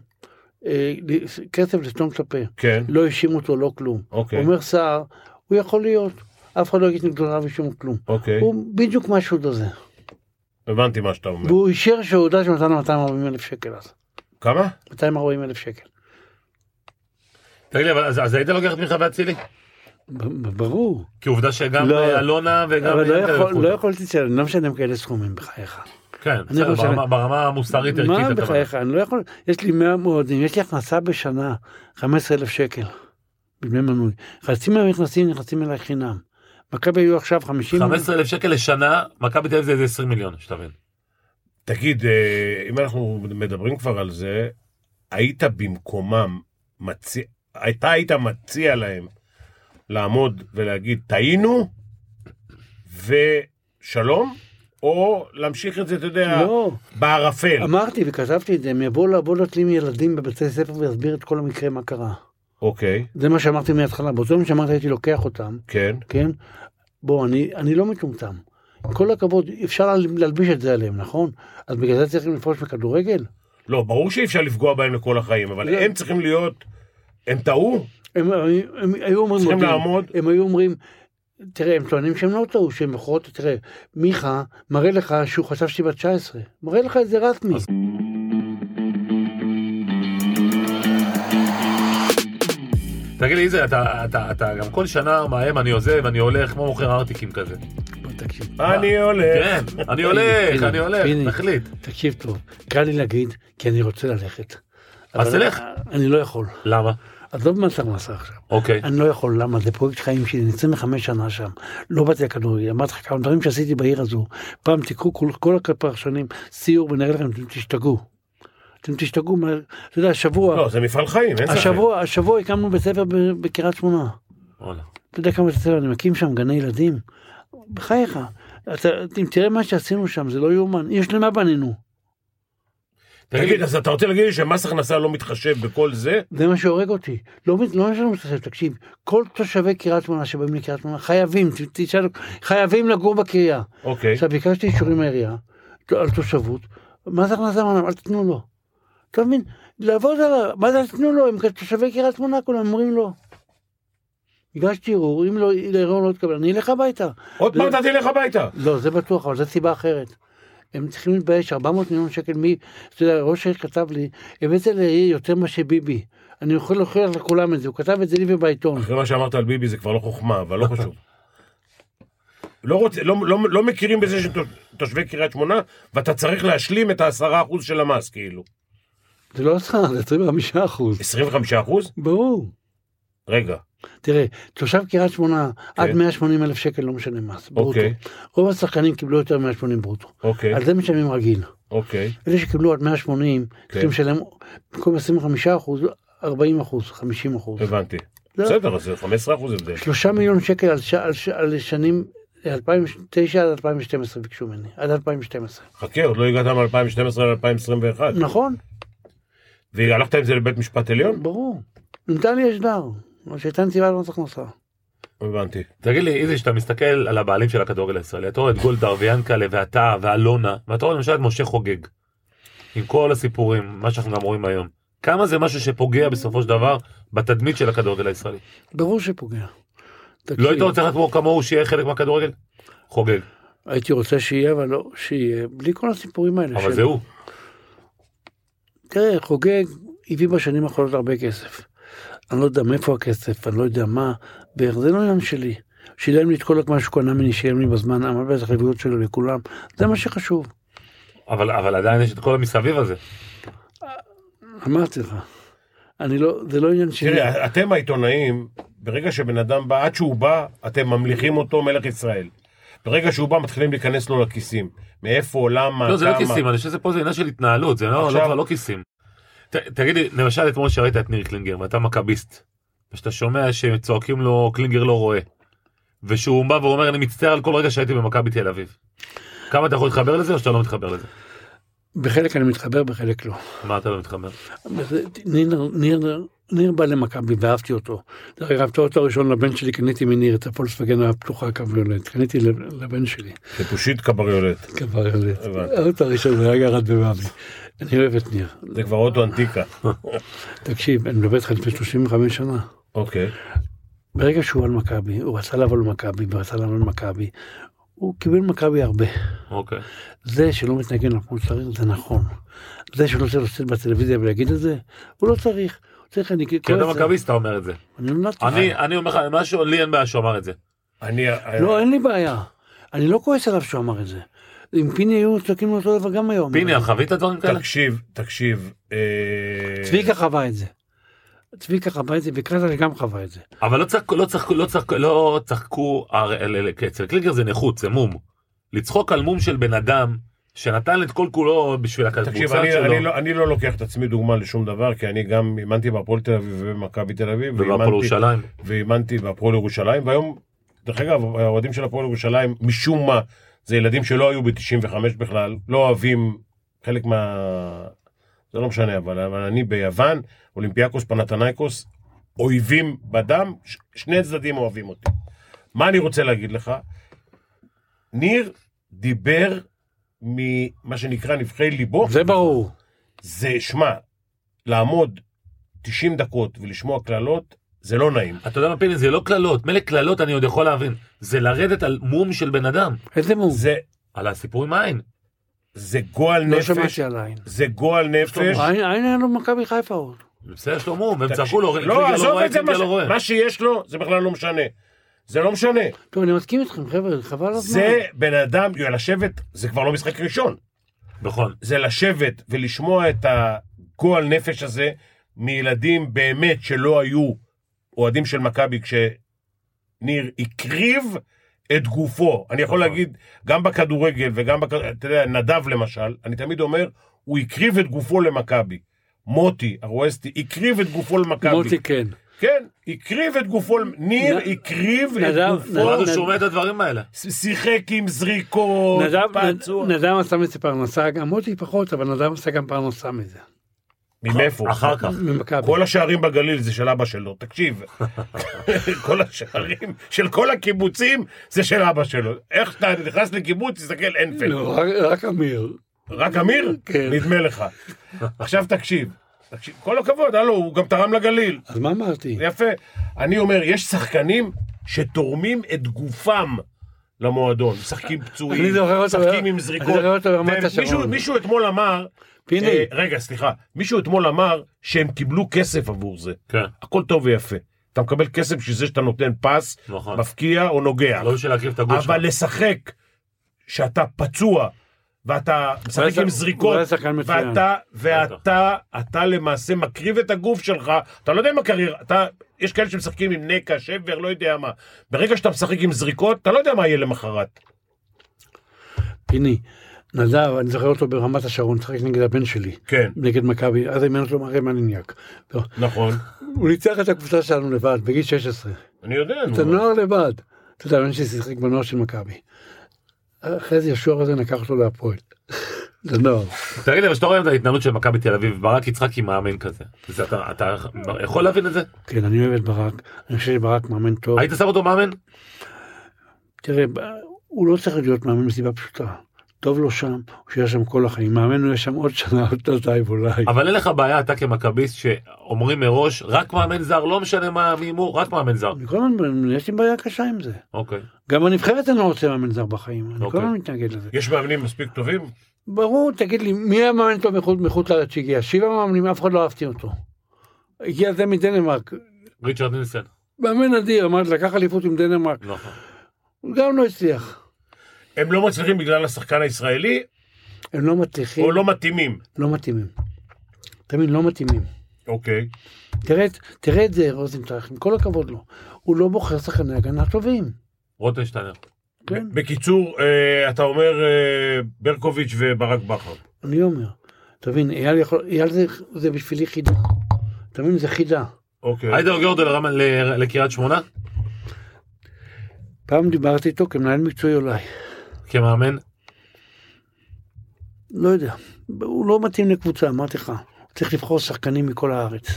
S3: אה, ל- כסף לסתום את הפה.
S2: כן.
S3: לא האשים אותו, לא כלום.
S2: אוקיי.
S3: אומר סער, הוא יכול להיות, אף אחד לא יגיד נגדו רב אישום כלום.
S2: אוקיי.
S3: הוא בדיוק מה שהוא דוזה.
S2: הבנתי מה שאתה אומר.
S3: והוא אישר שהוא הודה שנתן לו 240 אלף שקל אז.
S2: כמה?
S3: 240 אלף שקל.
S1: תגיד לי, אבל אז אז היית לוקח את מיכה ואצילי?
S3: ב- ב- ברור.
S1: כי עובדה שגם
S3: לא.
S1: אה, אלונה וגם...
S3: אבל לא
S1: ינקלה
S3: יכול-
S1: לקחו
S3: לא
S1: אותו.
S3: יכולתי לשלם, לא משנה כאלה סכומים בחייך.
S1: כן, בסדר,
S3: חושב-
S1: ברמה- ברמה המוסרית ערכית.
S3: מה
S1: הכוונה.
S3: בחייך, אני לא יכול, יש לי 100 מועדים, יש לי הכנסה בשנה, 15,000 שקל, בדמי מנוי. חצי מהמכנסים נכנסים אליי חינם. מכבי היו עכשיו 50,
S1: 15,000 שקל לשנה, מכבי תל אביב זה איזה 20 מיליון, שתבין.
S2: תגיד, אה, אם אנחנו מדברים כבר על זה, היית במקומם מציע, אתה היית מציע להם לעמוד ולהגיד, טעינו ושלום, או להמשיך את זה, אתה יודע,
S3: לא,
S2: בערפל.
S3: אמרתי וכתבתי את זה, הם יבואו לעבוד עוד עם ילדים בבתי ספר ויסביר את כל המקרה מה קרה.
S2: אוקיי,
S3: זה מה שאמרתי מההתחלה, באותו יום שאמרתי הייתי לוקח אותם,
S2: כן.
S3: כן? בוא, אני, אני לא מטומטם. עם כל הכבוד, אפשר לה- להלביש את זה עליהם, נכון? אז בגלל זה צריכים לפרוש מכדורגל?
S2: לא, ברור שאי אפשר לפגוע בהם לכל החיים, אבל
S3: לא.
S2: הם צריכים להיות, הם טעו,
S3: הם, הם, הם היו אומרים...
S2: צריכים
S3: מודים.
S2: לעמוד.
S3: הם היו אומרים, תראה, הם טוענים שהם לא טעו, שהם מכרות, תראה, מיכה מראה לך שהוא חשב שהיא בת 19, מראה לך את זה רסמי.
S1: אז- תגיד לי, איזה, אתה- אתה אתה גם כל שנה מאיים, אני עוזב, אני הולך, כמו מוכר ארטיקים כזה.
S3: בוא, תקשיב,
S2: אני הולך.
S1: כן, אני הולך,
S3: הנה,
S1: אני הולך,
S3: הנה.
S1: תחליט.
S3: תקשיב טוב, קל לי להגיד, כי אני רוצה ללכת.
S1: אז
S3: אבל
S1: תלך.
S3: אני לא יכול.
S1: למה?
S3: עזוב מס הכנסה עכשיו.
S1: אוקיי.
S3: אני לא יכול, למה? זה פרויקט חיים שלי, אני 25 שנה שם. לא באתי לכדורגל, אמרתי לך כמה דברים שעשיתי בעיר הזו. פעם תיקחו כל, כל הפרשנים סיור ונראה לכם, אתם תשתגעו. אתם תשתגעו, מה- אתה יודע, השבוע,
S2: לא, זה מפעל חיים, אין ספק.
S3: השבוע, השבוע הקמנו בית ספר ב- בקריית שמונה.
S1: וואלה.
S3: אתה יודע כמה בתי ספר אני מקים שם, גני ילדים? בחייך. אתה, אם תראה מה שעשינו שם, זה לא יאומן. יש למה בנינו.
S1: תגיד
S2: תגיד,
S1: לי,
S2: אז אתה רוצה להגיד לי שמס הכנסה לא מתחשב בכל זה?
S3: זה מה שהורג אותי. לא מת- לא משנה מה שאתה תקשיב, כל תושבי קריית שמונה שבאים לקריית שמונה חייבים, ת- תשאל, חייבים לגור בקריה.
S2: אוקיי.
S3: עכשיו ביקשתי אישורים מהעירייה ת- על תושבות, מס הכנסה אמרנו, אל תיתנו לו. אתה מבין? לעבוד על... ה- מה זה אל תיתנו לו? הם תושבי קריית שמונה, כולם אומרים לא. הגשתי ערעור, אם לא, לערעור לא תקבל, אני אלך הביתה.
S2: עוד
S3: לא.
S2: פעם אתה תלך הביתה.
S3: לא, זה בטוח, אבל זו סיבה אחרת. הם צריכים להתבייש, 400 מיליון שקל מי, אתה יודע, ראש העיר כתב לי, הבאת לעיר יותר מה שביבי. אני יכול להוכיח לכולם את זה, הוא כתב את זה לי ובעיתון.
S2: אחרי מה שאמרת על ביבי זה כבר לא חוכמה, אבל לא חשוב. לא, רוצ... לא, לא, לא מכירים בזה שתושבי קריית שמונה, ואתה צריך להשלים את העשרה אחוז של המס, כאילו.
S3: זה לא עשרה, זה 25 אחוז.
S2: 25 אחוז?
S3: ברור.
S2: רגע.
S3: תראה, תושב קריית שמונה, עד
S2: כן.
S3: 180 אלף שקל לא משנה מס, ברוטו.
S2: אוקיי.
S3: רוב השחקנים קיבלו יותר מ-180 ברוטו.
S1: כן.
S2: אוקיי,
S3: על זה משלמים רגיל.
S2: אוקיי.
S3: אלה שקיבלו עד 180,
S1: כן.
S3: צריכים לשלם במקום 25 אחוז, 40 אחוז, 50 אחוז.
S1: אוקיי.
S2: הבנתי.
S3: לא.
S2: בסדר, אז זה 15 אחוז הבדל.
S3: שלושה מיליון שקל על, ש... על, ש... על שנים 2009 עד 2012 ביקשו ממני, עד 2012.
S2: חכה, עוד לא הגעת מ-2012 ל-2021.
S3: נכון,
S2: והלכת עם זה לבית משפט עליון?
S3: ברור. נתן לי אשדר, או שהייתה נציבה למס הכנסה.
S2: הבנתי.
S1: תגיד לי, איזי, כשאתה מסתכל על הבעלים של הכדורגל הישראלי, אתה רואה את גולדהר ויאנקלה ואתה ואלונה, ואתה רואה למשל את משה חוגג, עם כל הסיפורים, מה שאנחנו גם רואים היום, כמה זה משהו שפוגע בסופו של דבר בתדמית של הכדורגל הישראלי?
S3: ברור שפוגע. תקשיב,
S1: לא היית רוצה להיות כמו- כמוהו שיהיה חלק מהכדורגל? חוגג,
S3: הייתי רוצה שיהיה, אבל לא, שיהיה, בלי כל הסיפורים האלה.
S1: אבל
S3: של-
S1: זה הוא.
S3: תראה, חוגג הביא בשנים האחרונות הרבה כסף. אני לא יודע מאיפה הכסף, אני לא יודע מה, ואיך זה לא עניין שלי. שילם לי את כל מה שהוא קנה ממני, שילם לי בזמן, עמד בהתחייבויות שלו לכולם, זה מה שחשוב.
S1: אבל אבל עדיין יש את כל המסביב הזה.
S3: אמרתי לך, אני לא, זה לא עניין שלי.
S2: תראה, אתם העיתונאים, ברגע שבן אדם בא, עד שהוא בא, אתם ממליכים אותו מלך ישראל. ברגע שהוא בא מתחילים להיכנס לו לכיסים. מאיפה, למה,
S1: לא, זה לא
S2: כמה.
S1: כיסים, אני חושב שזה פה זה עניין של התנהלות, זה לא- לא
S2: עכשיו-
S1: כבר לא כיסים. ת- תגיד לי, למשל אתמול שראית את ניר קלינגר ואתה מכביסט, ושאתה שומע שצועקים לו קלינגר לא רואה, ושהוא בא ואומר אני מצטער על כל רגע שהייתי במכבי תל אביב. כמה אתה יכול להתחבר לזה או שאתה לא מתחבר לזה?
S3: בחלק אני מתחבר, בחלק לא.
S1: מה אתה לא מתחבר?
S3: ניר, ניר, ניר בא למכבי ואהבתי אותו. דרך אגב, את האוטו הראשון לבן שלי קניתי מניר את הפולסווגן הפתוחה הקוויולט. קניתי לב- לבן שלי
S2: טיפושית קבריולט.
S3: קוויולט.
S2: הבנתי.
S3: האוטו הראשון היה גרד בבבלי. אני אוהב את ניר.
S2: זה כבר אוטו אנטיקה.
S3: תקשיב, אני מדבר איתך לפני 35 שנה.
S2: אוקיי.
S3: ברגע שהוא על מכבי, הוא רצה לעבור למכבי ורצה לעבור למכבי. הוא קיבל מכבי הרבה.
S1: אוקיי.
S3: זה שלא מתנגן על כמו שצריך זה נכון. זה שלא צריך לצאת בטלוויזיה ולהגיד את זה, הוא לא צריך. הוא צריך אני
S1: כי
S2: לא
S1: אתה מכביסט אתה אומר את זה.
S2: כן.
S3: אני לא נולדתי.
S1: כן, אני אני אומר לך משהו, לי אין בעיה שהוא אמר את זה.
S2: אני... אה,
S3: לא, אין לי בעיה. אני לא כועס עליו שהוא אמר את זה. אם פיני היו צועקים לו אותו דבר גם
S2: לא
S3: היום.
S1: פיני, חווית דברים כאלה?
S2: תקשיב, תקשיב. אה,
S3: צביקה חווה את זה. צביקה חווה את זה, וקרטר גם חווה את זה.
S1: אבל לא צחקו, לא צחקו, לא צחקו, לא צחקו, הר- אל- אל- אצל קלינגר זה נכות, זה מום. לצחוק על מום של בן אדם שנתן את כל כולו בשביל
S2: תקשיב,
S1: הקבוצה
S2: אני,
S1: שלו.
S2: אני, לא, אני לא לוקח את עצמי דוגמה לשום דבר, כי אני גם אימנתי בהפועל תל אביב ובמכבי תל אביב,
S1: ובהפועל
S2: ואימנתי-
S1: ירושלים.
S2: ואימנתי בהפועל ירושלים, והיום, דרך אגב, האוהדים של הפועל ירושלים, משום מה, זה ילדים שלא היו ב-95 בכלל, לא אוהבים חלק מה... זה לא משנה, אבל, אבל אני ביוון, אולימפיאקוס, פנתנייקוס, אויבים בדם, ש- שני צדדים אוהבים אותי. מה אני רוצה להגיד לך? ניר דיבר ממה שנקרא נבחי ליבו.
S3: זה ברור.
S2: זה, שמע, לעמוד 90 דקות ולשמוע קללות, זה לא נעים.
S1: אתה יודע מה פיני, זה לא קללות, מילא קללות אני עוד יכול להבין. זה לרדת על מום של בן אדם,
S3: איזה מום.
S2: זה,
S1: על הסיפור עם העין.
S2: זה גועל
S3: לא
S2: נפש,
S3: שמעתי על העין.
S2: זה גועל נפש.
S3: העין העין היה לו מכבי חיפה עוד.
S1: בסדר, יש לו מום, הם
S2: תקשיב,
S1: צחקו לו, קלינגר
S2: לא, עזוב
S1: רואה,
S2: את זה,
S1: קלינגר
S2: מה ש-
S1: לא רואה.
S2: מה שיש לו, זה בכלל לא משנה. זה לא משנה.
S3: טוב, אני מסכים איתכם, חבר'ה, חבל על הזמן.
S2: זה בן אדם, יו, לשבת, זה כבר לא משחק ראשון.
S1: נכון.
S2: זה לשבת ולשמוע את הגועל נפש הזה מילדים באמת שלא היו אוהדים של מכבי כשניר הקריב את גופו. אני יכול
S1: נכון.
S2: להגיד, גם בכדורגל וגם, בכ... אתה יודע, נדב למשל, אני תמיד אומר, הוא הקריב את גופו למכבי. מוטי, הרואסטי, הקריב את גופו למכבי.
S3: מוטי כן.
S2: כן, הקריב את גופו, למ- ניר
S3: נ-
S2: הקריב
S3: נדב-
S2: את
S1: הוא
S2: גופו,
S1: רק
S3: נד-
S1: שומע את הדברים האלה.
S2: ש- שיחק עם זריקות,
S3: נדב-
S2: פצוע.
S3: נדב עשה מזה פרנסה, גם מוטי פחות, אבל נדב עשה גם פרנסה מזה.
S2: ממאיפה?
S1: אחר כך.
S3: ממכבי.
S2: כל השערים בגליל זה של אבא שלו, תקשיב. כל השערים של כל הקיבוצים זה של אבא שלו. איך אתה נכנס לקיבוץ, תסתכל, אין פלט.
S3: לא, רק- רק אמיר.
S2: רק אמיר?
S3: כן.
S2: נדמה לך. עכשיו תקשיב, תקשיב, כל הכבוד, הלו, הוא גם תרם לגליל.
S3: אז מה אמרתי?
S2: יפה. אני אומר, יש שחקנים שתורמים את גופם למועדון. משחקים
S3: אני
S2: פצועים,
S3: זוכר אותו-
S2: משחקים עם
S3: אני
S2: זריקות.
S3: זוכר אותו ברמת
S2: ומישהו-
S3: השרון.
S2: מישהו אתמול אמר,
S3: פיני.
S2: אה, רגע, סליחה, מישהו אתמול אמר שהם קיבלו כסף עבור זה.
S1: כן,
S2: הכל טוב ויפה. אתה מקבל כסף בשביל זה שאתה נותן פס,
S1: נכון.
S2: מפקיע או נוגע.
S1: לא בשביל להקריב את הגוף שלך.
S2: אבל לשחק שאתה פצוע, ואתה משחק
S3: היה
S2: עם
S3: ש- הוא
S2: זריקות,
S3: היה שחקן מצוין.
S2: ואתה, ואתה, אתה למעשה מקריב את הגוף שלך, אתה לא יודע מה קריירה, אתה, יש כאלה שמשחקים עם נקע, שבר, לא יודע מה. ברגע שאתה משחק עם זריקות, אתה לא יודע מה יהיה למחרת.
S3: פיני. נדב, אני זוכר אותו ברמת השרון, משחק נגד הבן שלי,
S2: כן,
S3: נגד מכבי, אז אימן אותו מראה מניאק. לא,
S2: נכון.
S3: הוא ניצח את הקבוצה שלנו לבד, בגיל 16.
S2: אני יודע,
S3: את
S2: נו.
S3: הנוער לבד. אתה יודע, הבן שלי שיחק בנוער של מכבי. אחרי זה ישוער הזה לקח אותו להפועל. לנוער.
S1: תגיד לי, אבל כשאתה רואה את ההתנהלות של מכבי תל אביב, ברק יצחקי מאמן כזה. זה אתה- אתה יכול להבין את זה?
S3: כן, אני אוהב את ברק, אני חושב שברק מאמן טוב.
S1: היית שם אותו מאמן?
S3: תראה, ב- הוא לא צריך להיות מאמן מסיבה פשוטה. טוב לו שם, הוא שיהיה שם כל החיים. מאמן הוא יהיה שם עוד שנה, עוד שנתיים אולי.
S1: אבל אין לך בעיה אתה כמכביסט שאומרים מראש רק מאמן זר לא משנה מה מי הוא רק מאמן זר.
S3: אני כל הזמן, יש לי בעיה קשה עם זה.
S1: אוקיי.
S3: גם בנבחרת אני לא רוצה מאמן זר בחיים, אני כל
S1: אוקיי.
S3: הזמן מתנגד לזה.
S2: יש מאמנים מספיק טובים?
S3: ברור, תגיד לי, מי היה מאמן טוב מחוץ- מחוץ לארץ שהגיע? שבעה מאמנים, אף אחד לא אהבתי אותו. הגיע זה מדנמרק,
S1: ריצ'רד נינסן.
S3: מאמן אדיר, אמרתי, לקח אליפות עם דנמרק,
S1: נכון.
S3: הוא גם לא הצליח.
S2: הם לא מצליחים בגלל השחקן הישראלי,
S3: הם לא מצליחים,
S2: או לא מתאימים.
S3: לא מתאימים. תמיד לא מתאימים.
S2: אוקיי.
S3: תראה, את- תראה את זה, רוזנטרח, עם כל הכבוד לו. הוא לא בוחר שחקני הגנה טובים.
S1: רוטנשטיינר.
S3: כן,
S2: בקיצור, אה, אתה אומר אה, ברקוביץ' וברק בכר.
S3: אני אומר. תבין, אייל יכול, אייל זה, זה בשבילי חידה. אתה מבין, זה חידה.
S2: אוקיי.
S1: היידר גורדל רמה ל- לקריית שמונה
S3: פעם דיברתי איתו כמנהל מקצועי אולי,
S1: כמאמן.
S3: לא יודע. הוא לא מתאים לקבוצה, אמרתי לך. הוא צריך לבחור שחקנים מכל הארץ.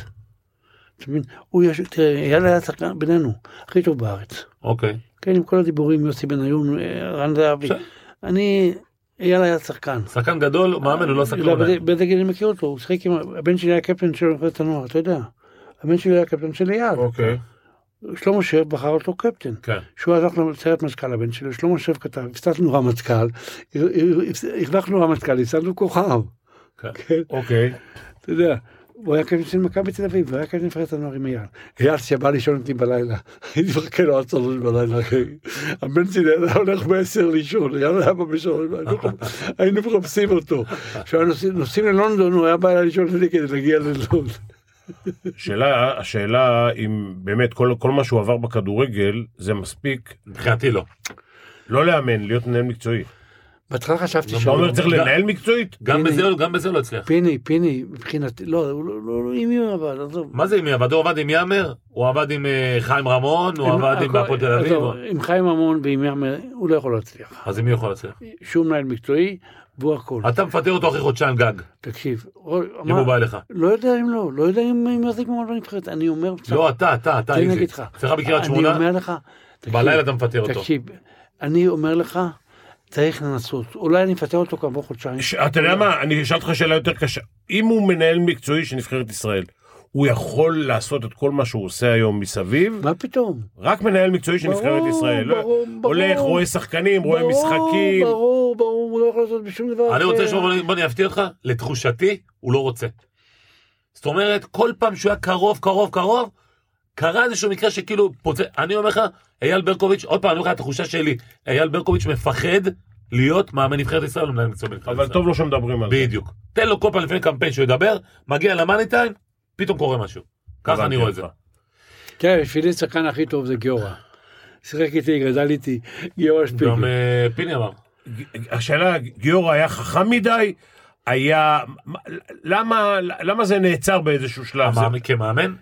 S3: אתה מבין? הוא יש... תראה, אייל היה שחקן בינינו, הכי טוב בארץ.
S1: אוקיי.
S3: כן, עם כל הדיבורים, יוסי בניון, אה, רן זהבי.
S1: בסדר.
S3: אני, אייל היה שחקן.
S1: שחקן גדול, מאמן הוא לא שחקן.
S3: לא,
S1: עדיין.
S3: בד- באיזה גיל אני מכיר אותו, הוא שיחק עם, הבן שלי היה קפטן של נבחרת הנוער, אתה יודע. הבן שלי היה קפטן של אייל.
S2: אוקיי.
S3: שלמה שב בחר אותו קפטן.
S1: כן.
S3: שהוא הלך לסיירת מזכ"ל הבן שלו, שלמה שב כתב, הפסדנו רמטכ"ל, החלפנו רמטכ"ל, הפסדנו כוכב.
S1: כן.
S3: כן,
S2: אוקיי.
S3: אתה יודע. הוא היה קפטן של מכבי תל אביב, הוא היה קפטן נבחרת הנוער עם אייל. אייל שבא לישון אותי בלילה, הייתי מחכה לו עד שלוש בלילה. אחי. הבן שלי היה הולך בעשר לישון, אייל היה בא בשלוש, היינו מחפ- היינו מחפשים אותו. כשהיינו נוסעים- נוסעים ללונדון, הוא היה בא אליי לישון שלי כדי להגיע ללונדון.
S2: השאלה, השאלה אם באמת כל, כל מה שהוא עבר בכדורגל זה מספיק
S1: מבחינתי לא.
S2: לא לאמן, להיות מנהל מקצועי.
S3: בהתחלה חשבתי
S1: גם
S2: אתה אומר צריך
S1: גם-
S2: לנהל מקצועית?
S1: גם
S3: הנה.
S1: בזה לא- גם בזה לא הצליח.
S3: פיני, פיני, מבחינתי, לא, הוא לא- לא לא אימון אבל, עזוב.
S1: מה זה עם יעבד? הוא עבד עם יאמר, הוא עבד עם אה, חיים רמון, הוא
S3: עם-
S1: עבד עם
S3: הכל-
S1: הפועל תל אביב.
S3: עזוב, עם חיים ממון ועם ירמר, הוא לא יכול להצליח.
S1: אז עם מי הוא יכול להצליח?
S3: שהוא מנהל מקצועי, והוא הכל.
S1: אתה מפטר אותו אחרי חודשיים גג,
S3: תקשיב, רול-
S1: אם
S3: אמר-
S1: הוא בא אליך.
S3: לא יודע אם לא, לא יודע אם אם יחזיק מעמד בנבחרת, אני אומר,
S1: לא, אתה, אתה, אתה
S3: תן לי
S1: איזי.
S3: להגיד לך.
S1: אצלך בקריית
S3: אני
S1: שמונה,
S3: אומר לך, תקשיב,
S1: בלילה אתה מפטר אותו.
S3: תקשיב, אני אומר לך, צריך לנסות, אולי אני אפטר אותו כעבור חודשיים.
S2: ש... אתה יודע מה, אני אשאל אותך שאלה יותר קשה. אם הוא מנהל מקצועי של נבחרת ישראל, הוא יכול לעשות את כל מה שהוא עושה היום מסביב?
S3: מה פתאום?
S2: רק מנהל מקצועי של
S3: ברור,
S2: נבחרת ישראל. לא-
S3: ברור, ברור.
S2: הולך, רואה שחקנים, רואה
S3: ברור,
S2: משחקים.
S3: ברור, ברור, הוא לא יכול לעשות בשום דבר.
S1: אני רוצה
S3: אחר.
S1: לשמור, בוא אני אפתיע אותך, לתחושתי, הוא לא רוצה. זאת אומרת, כל פעם שהוא היה קרוב, קרוב, קרוב, קרה איזשהו מקרה שכאילו פוצץ. אני אומר לך, אייל ברקוביץ', עוד פעם, אני אומר לך, התחושה שלי, אייל ברקוביץ' מפחד להיות מאמן נבחרת ישראל ומנהל מקצוע בנבחרת ישראל.
S2: אבל טוב לו שמדברים על זה.
S1: בדיוק. תן לו כל פעם לפני קמפיין שהוא ידבר, מגיע למאני טיים, פתאום קורה משהו. ככה אני
S2: הבנתי
S1: רואה את זה.
S2: אותך.
S3: תראה, בשבילי השחקן הכי טוב זה גיורא. שיחק איתי, גדל איתי, גיורא שפיגל.
S1: גם אה, פיני אמר.
S2: השאלה, גיורא היה חכם מדי? היה... מה- למה, למה זה נעצר באיזשהו שלב? אה, זה...
S1: המאמן- כמאמן?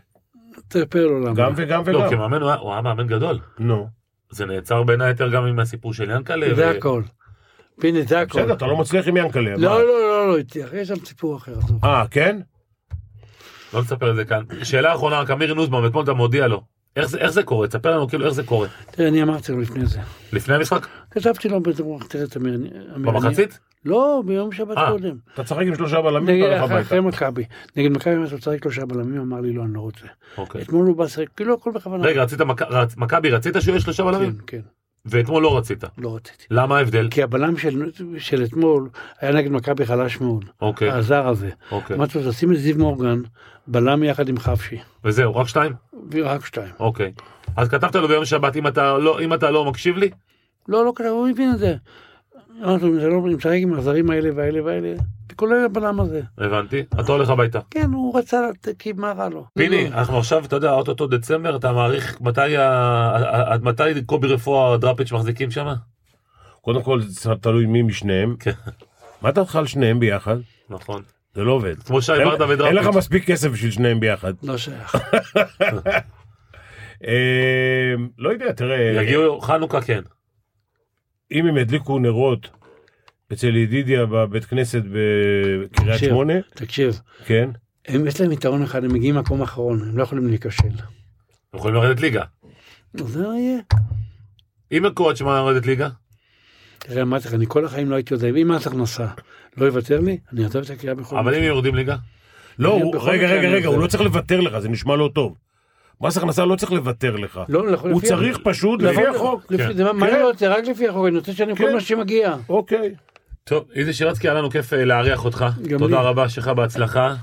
S3: תספר לו למה.
S2: גם וגם
S1: לא,
S2: וגם.
S1: כמאמן הוא היה- הוא היה מאמן גדול.
S2: נו.
S1: זה נעצר בין היתר גם עם הסיפור של ינקלה.
S3: זה
S1: ו-
S3: הכל. פיני, זה הכל.
S2: בסדר,
S1: כן.
S2: אתה לא מצליח עם ינקלה. מה?
S3: לא, לא, לא, לא הצליח, יש שם סיפור אחר. עזוב.
S2: אה, כן?
S1: לא נספר את זה כאן. שאלה אחרונה, רק אמיר נוזמן, אתמול אתה מודיע לו. איך זה, איך זה קורה? תספר לנו כאילו איך זה קורה.
S3: תראה, אני אמרתי לו לפני זה.
S1: לפני המשחק?
S3: כתבתי לו ברוח, תראה את אמיר. אמיר, אני-
S1: במחצית?
S3: לא, ביום שבת
S1: אה.
S3: קודם.
S2: אתה תשחק עם שלושה בלמים,
S3: נגד-
S2: אתה הולך
S3: אחרי-
S2: הביתה.
S3: אחרי מכבי. נגד מכבי אמרתי לו, צריך שלושה בלמים, אמר לי, לא, אני לא רוצה.
S1: אוקיי.
S3: אתמול הוא בא לשחק, כאילו הכל בכוונה.
S1: רגע, רצית, מק- רצ- מכבי רצית שהוא יהיה שלושה בלמים?
S3: כן, כן,
S1: ואתמול לא רצית.
S3: לא רציתי.
S1: למה ההבדל?
S3: כי הבלם של- של אתמול היה נגד מכבי חלש מאוד,
S1: אוקיי,
S3: הזר הזה.
S1: אוקיי.
S3: אמרתי לו, תשים את זיו מורגן, בלם יחד עם חפשי,
S1: וזהו, רק שתיים?
S3: ורק שתיים.
S1: אוקיי. אז כתבת לו ביום שבת, אם אתה לא, אם אתה לא מקשיב לי,
S3: לא, לא כתב, הוא הבין את זה. אמרתי לו, אם זה לא, אם משחק עם הזרים האלה והאלה והאלה, כולל הבלם הזה.
S1: הבנתי, אתה הולך הביתה.
S3: כן, הוא רצה, לת- כי מה רע לו?
S1: פיני,
S3: לא.
S1: אנחנו עכשיו, אתה יודע, אוטוטו דצמבר, אתה מעריך מתי, ה- עד מתי קובי רפואה דראפיץ' מחזיקים שם?
S2: קודם כל, זה תלוי מי משניהם.
S1: כן.
S2: מה אתה אוכל שניהם ביחד?
S1: נכון.
S2: זה לא עובד.
S1: כמו שי
S2: אין-
S1: ברדה
S2: אין לך
S1: ודראפיץ'.
S2: מספיק כסף בשביל שניהם ביחד.
S3: לא שייך.
S2: אה, לא יודע, תראה,
S1: יגיעו חנוכה כן.
S2: אם הם ידליקו נרות אצל ידידיה בבית כנסת בקריית
S3: תקשיב.
S2: שמונה,
S3: תקשיב,
S2: כן,
S3: הם, יש להם יתרון אחד, הם מגיעים מקום אחרון, הם לא יכולים להיכשל.
S1: הם יכולים לרדת ליגה.
S3: אז זה יהיה.
S1: אם מקורת שמע יורדת ליגה,
S3: תראה, אמרתי לך, אני כל החיים לא הייתי יודע, אם מס הכנסה לא יוותר לי, אני אעזוב את הקריאה בכל
S1: אבל אם הם יורדים ליגה,
S2: לא,
S3: אני
S2: הוא-
S3: בכל
S2: רגע,
S3: מקרה
S2: רגע,
S3: אני
S2: רגע, הוא
S3: עוזב.
S2: לא צריך לוותר לך, זה נשמע לא טוב. מס הכנסה לא צריך לוותר לך.
S3: לא, לא,
S2: הוא
S3: לפי-
S2: צריך פשוט,
S3: לא,
S2: לפי
S3: לא,
S2: החוק.
S3: לפי-
S1: כן.
S3: זה מה- מה
S2: כן.
S3: אני לא רוצה, רק לפי החוק, אני רוצה שאני כל
S2: כן.
S3: מה שמגיע.
S2: אוקיי.
S1: טוב, איזי שירצקי, היה לנו כיף אה, לארח אותך.
S3: גם
S1: תודה
S3: לי.
S1: רבה, שלך בהצלחה.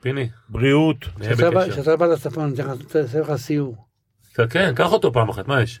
S1: פיני,
S2: בריאות.
S1: נהיה
S3: כשאתה בא-
S1: בקשר.
S3: כשאתה בא לצפון, אני אתן לך- אעשה לך סיור.
S1: כן, קח אותו פעם אחת, מה יש?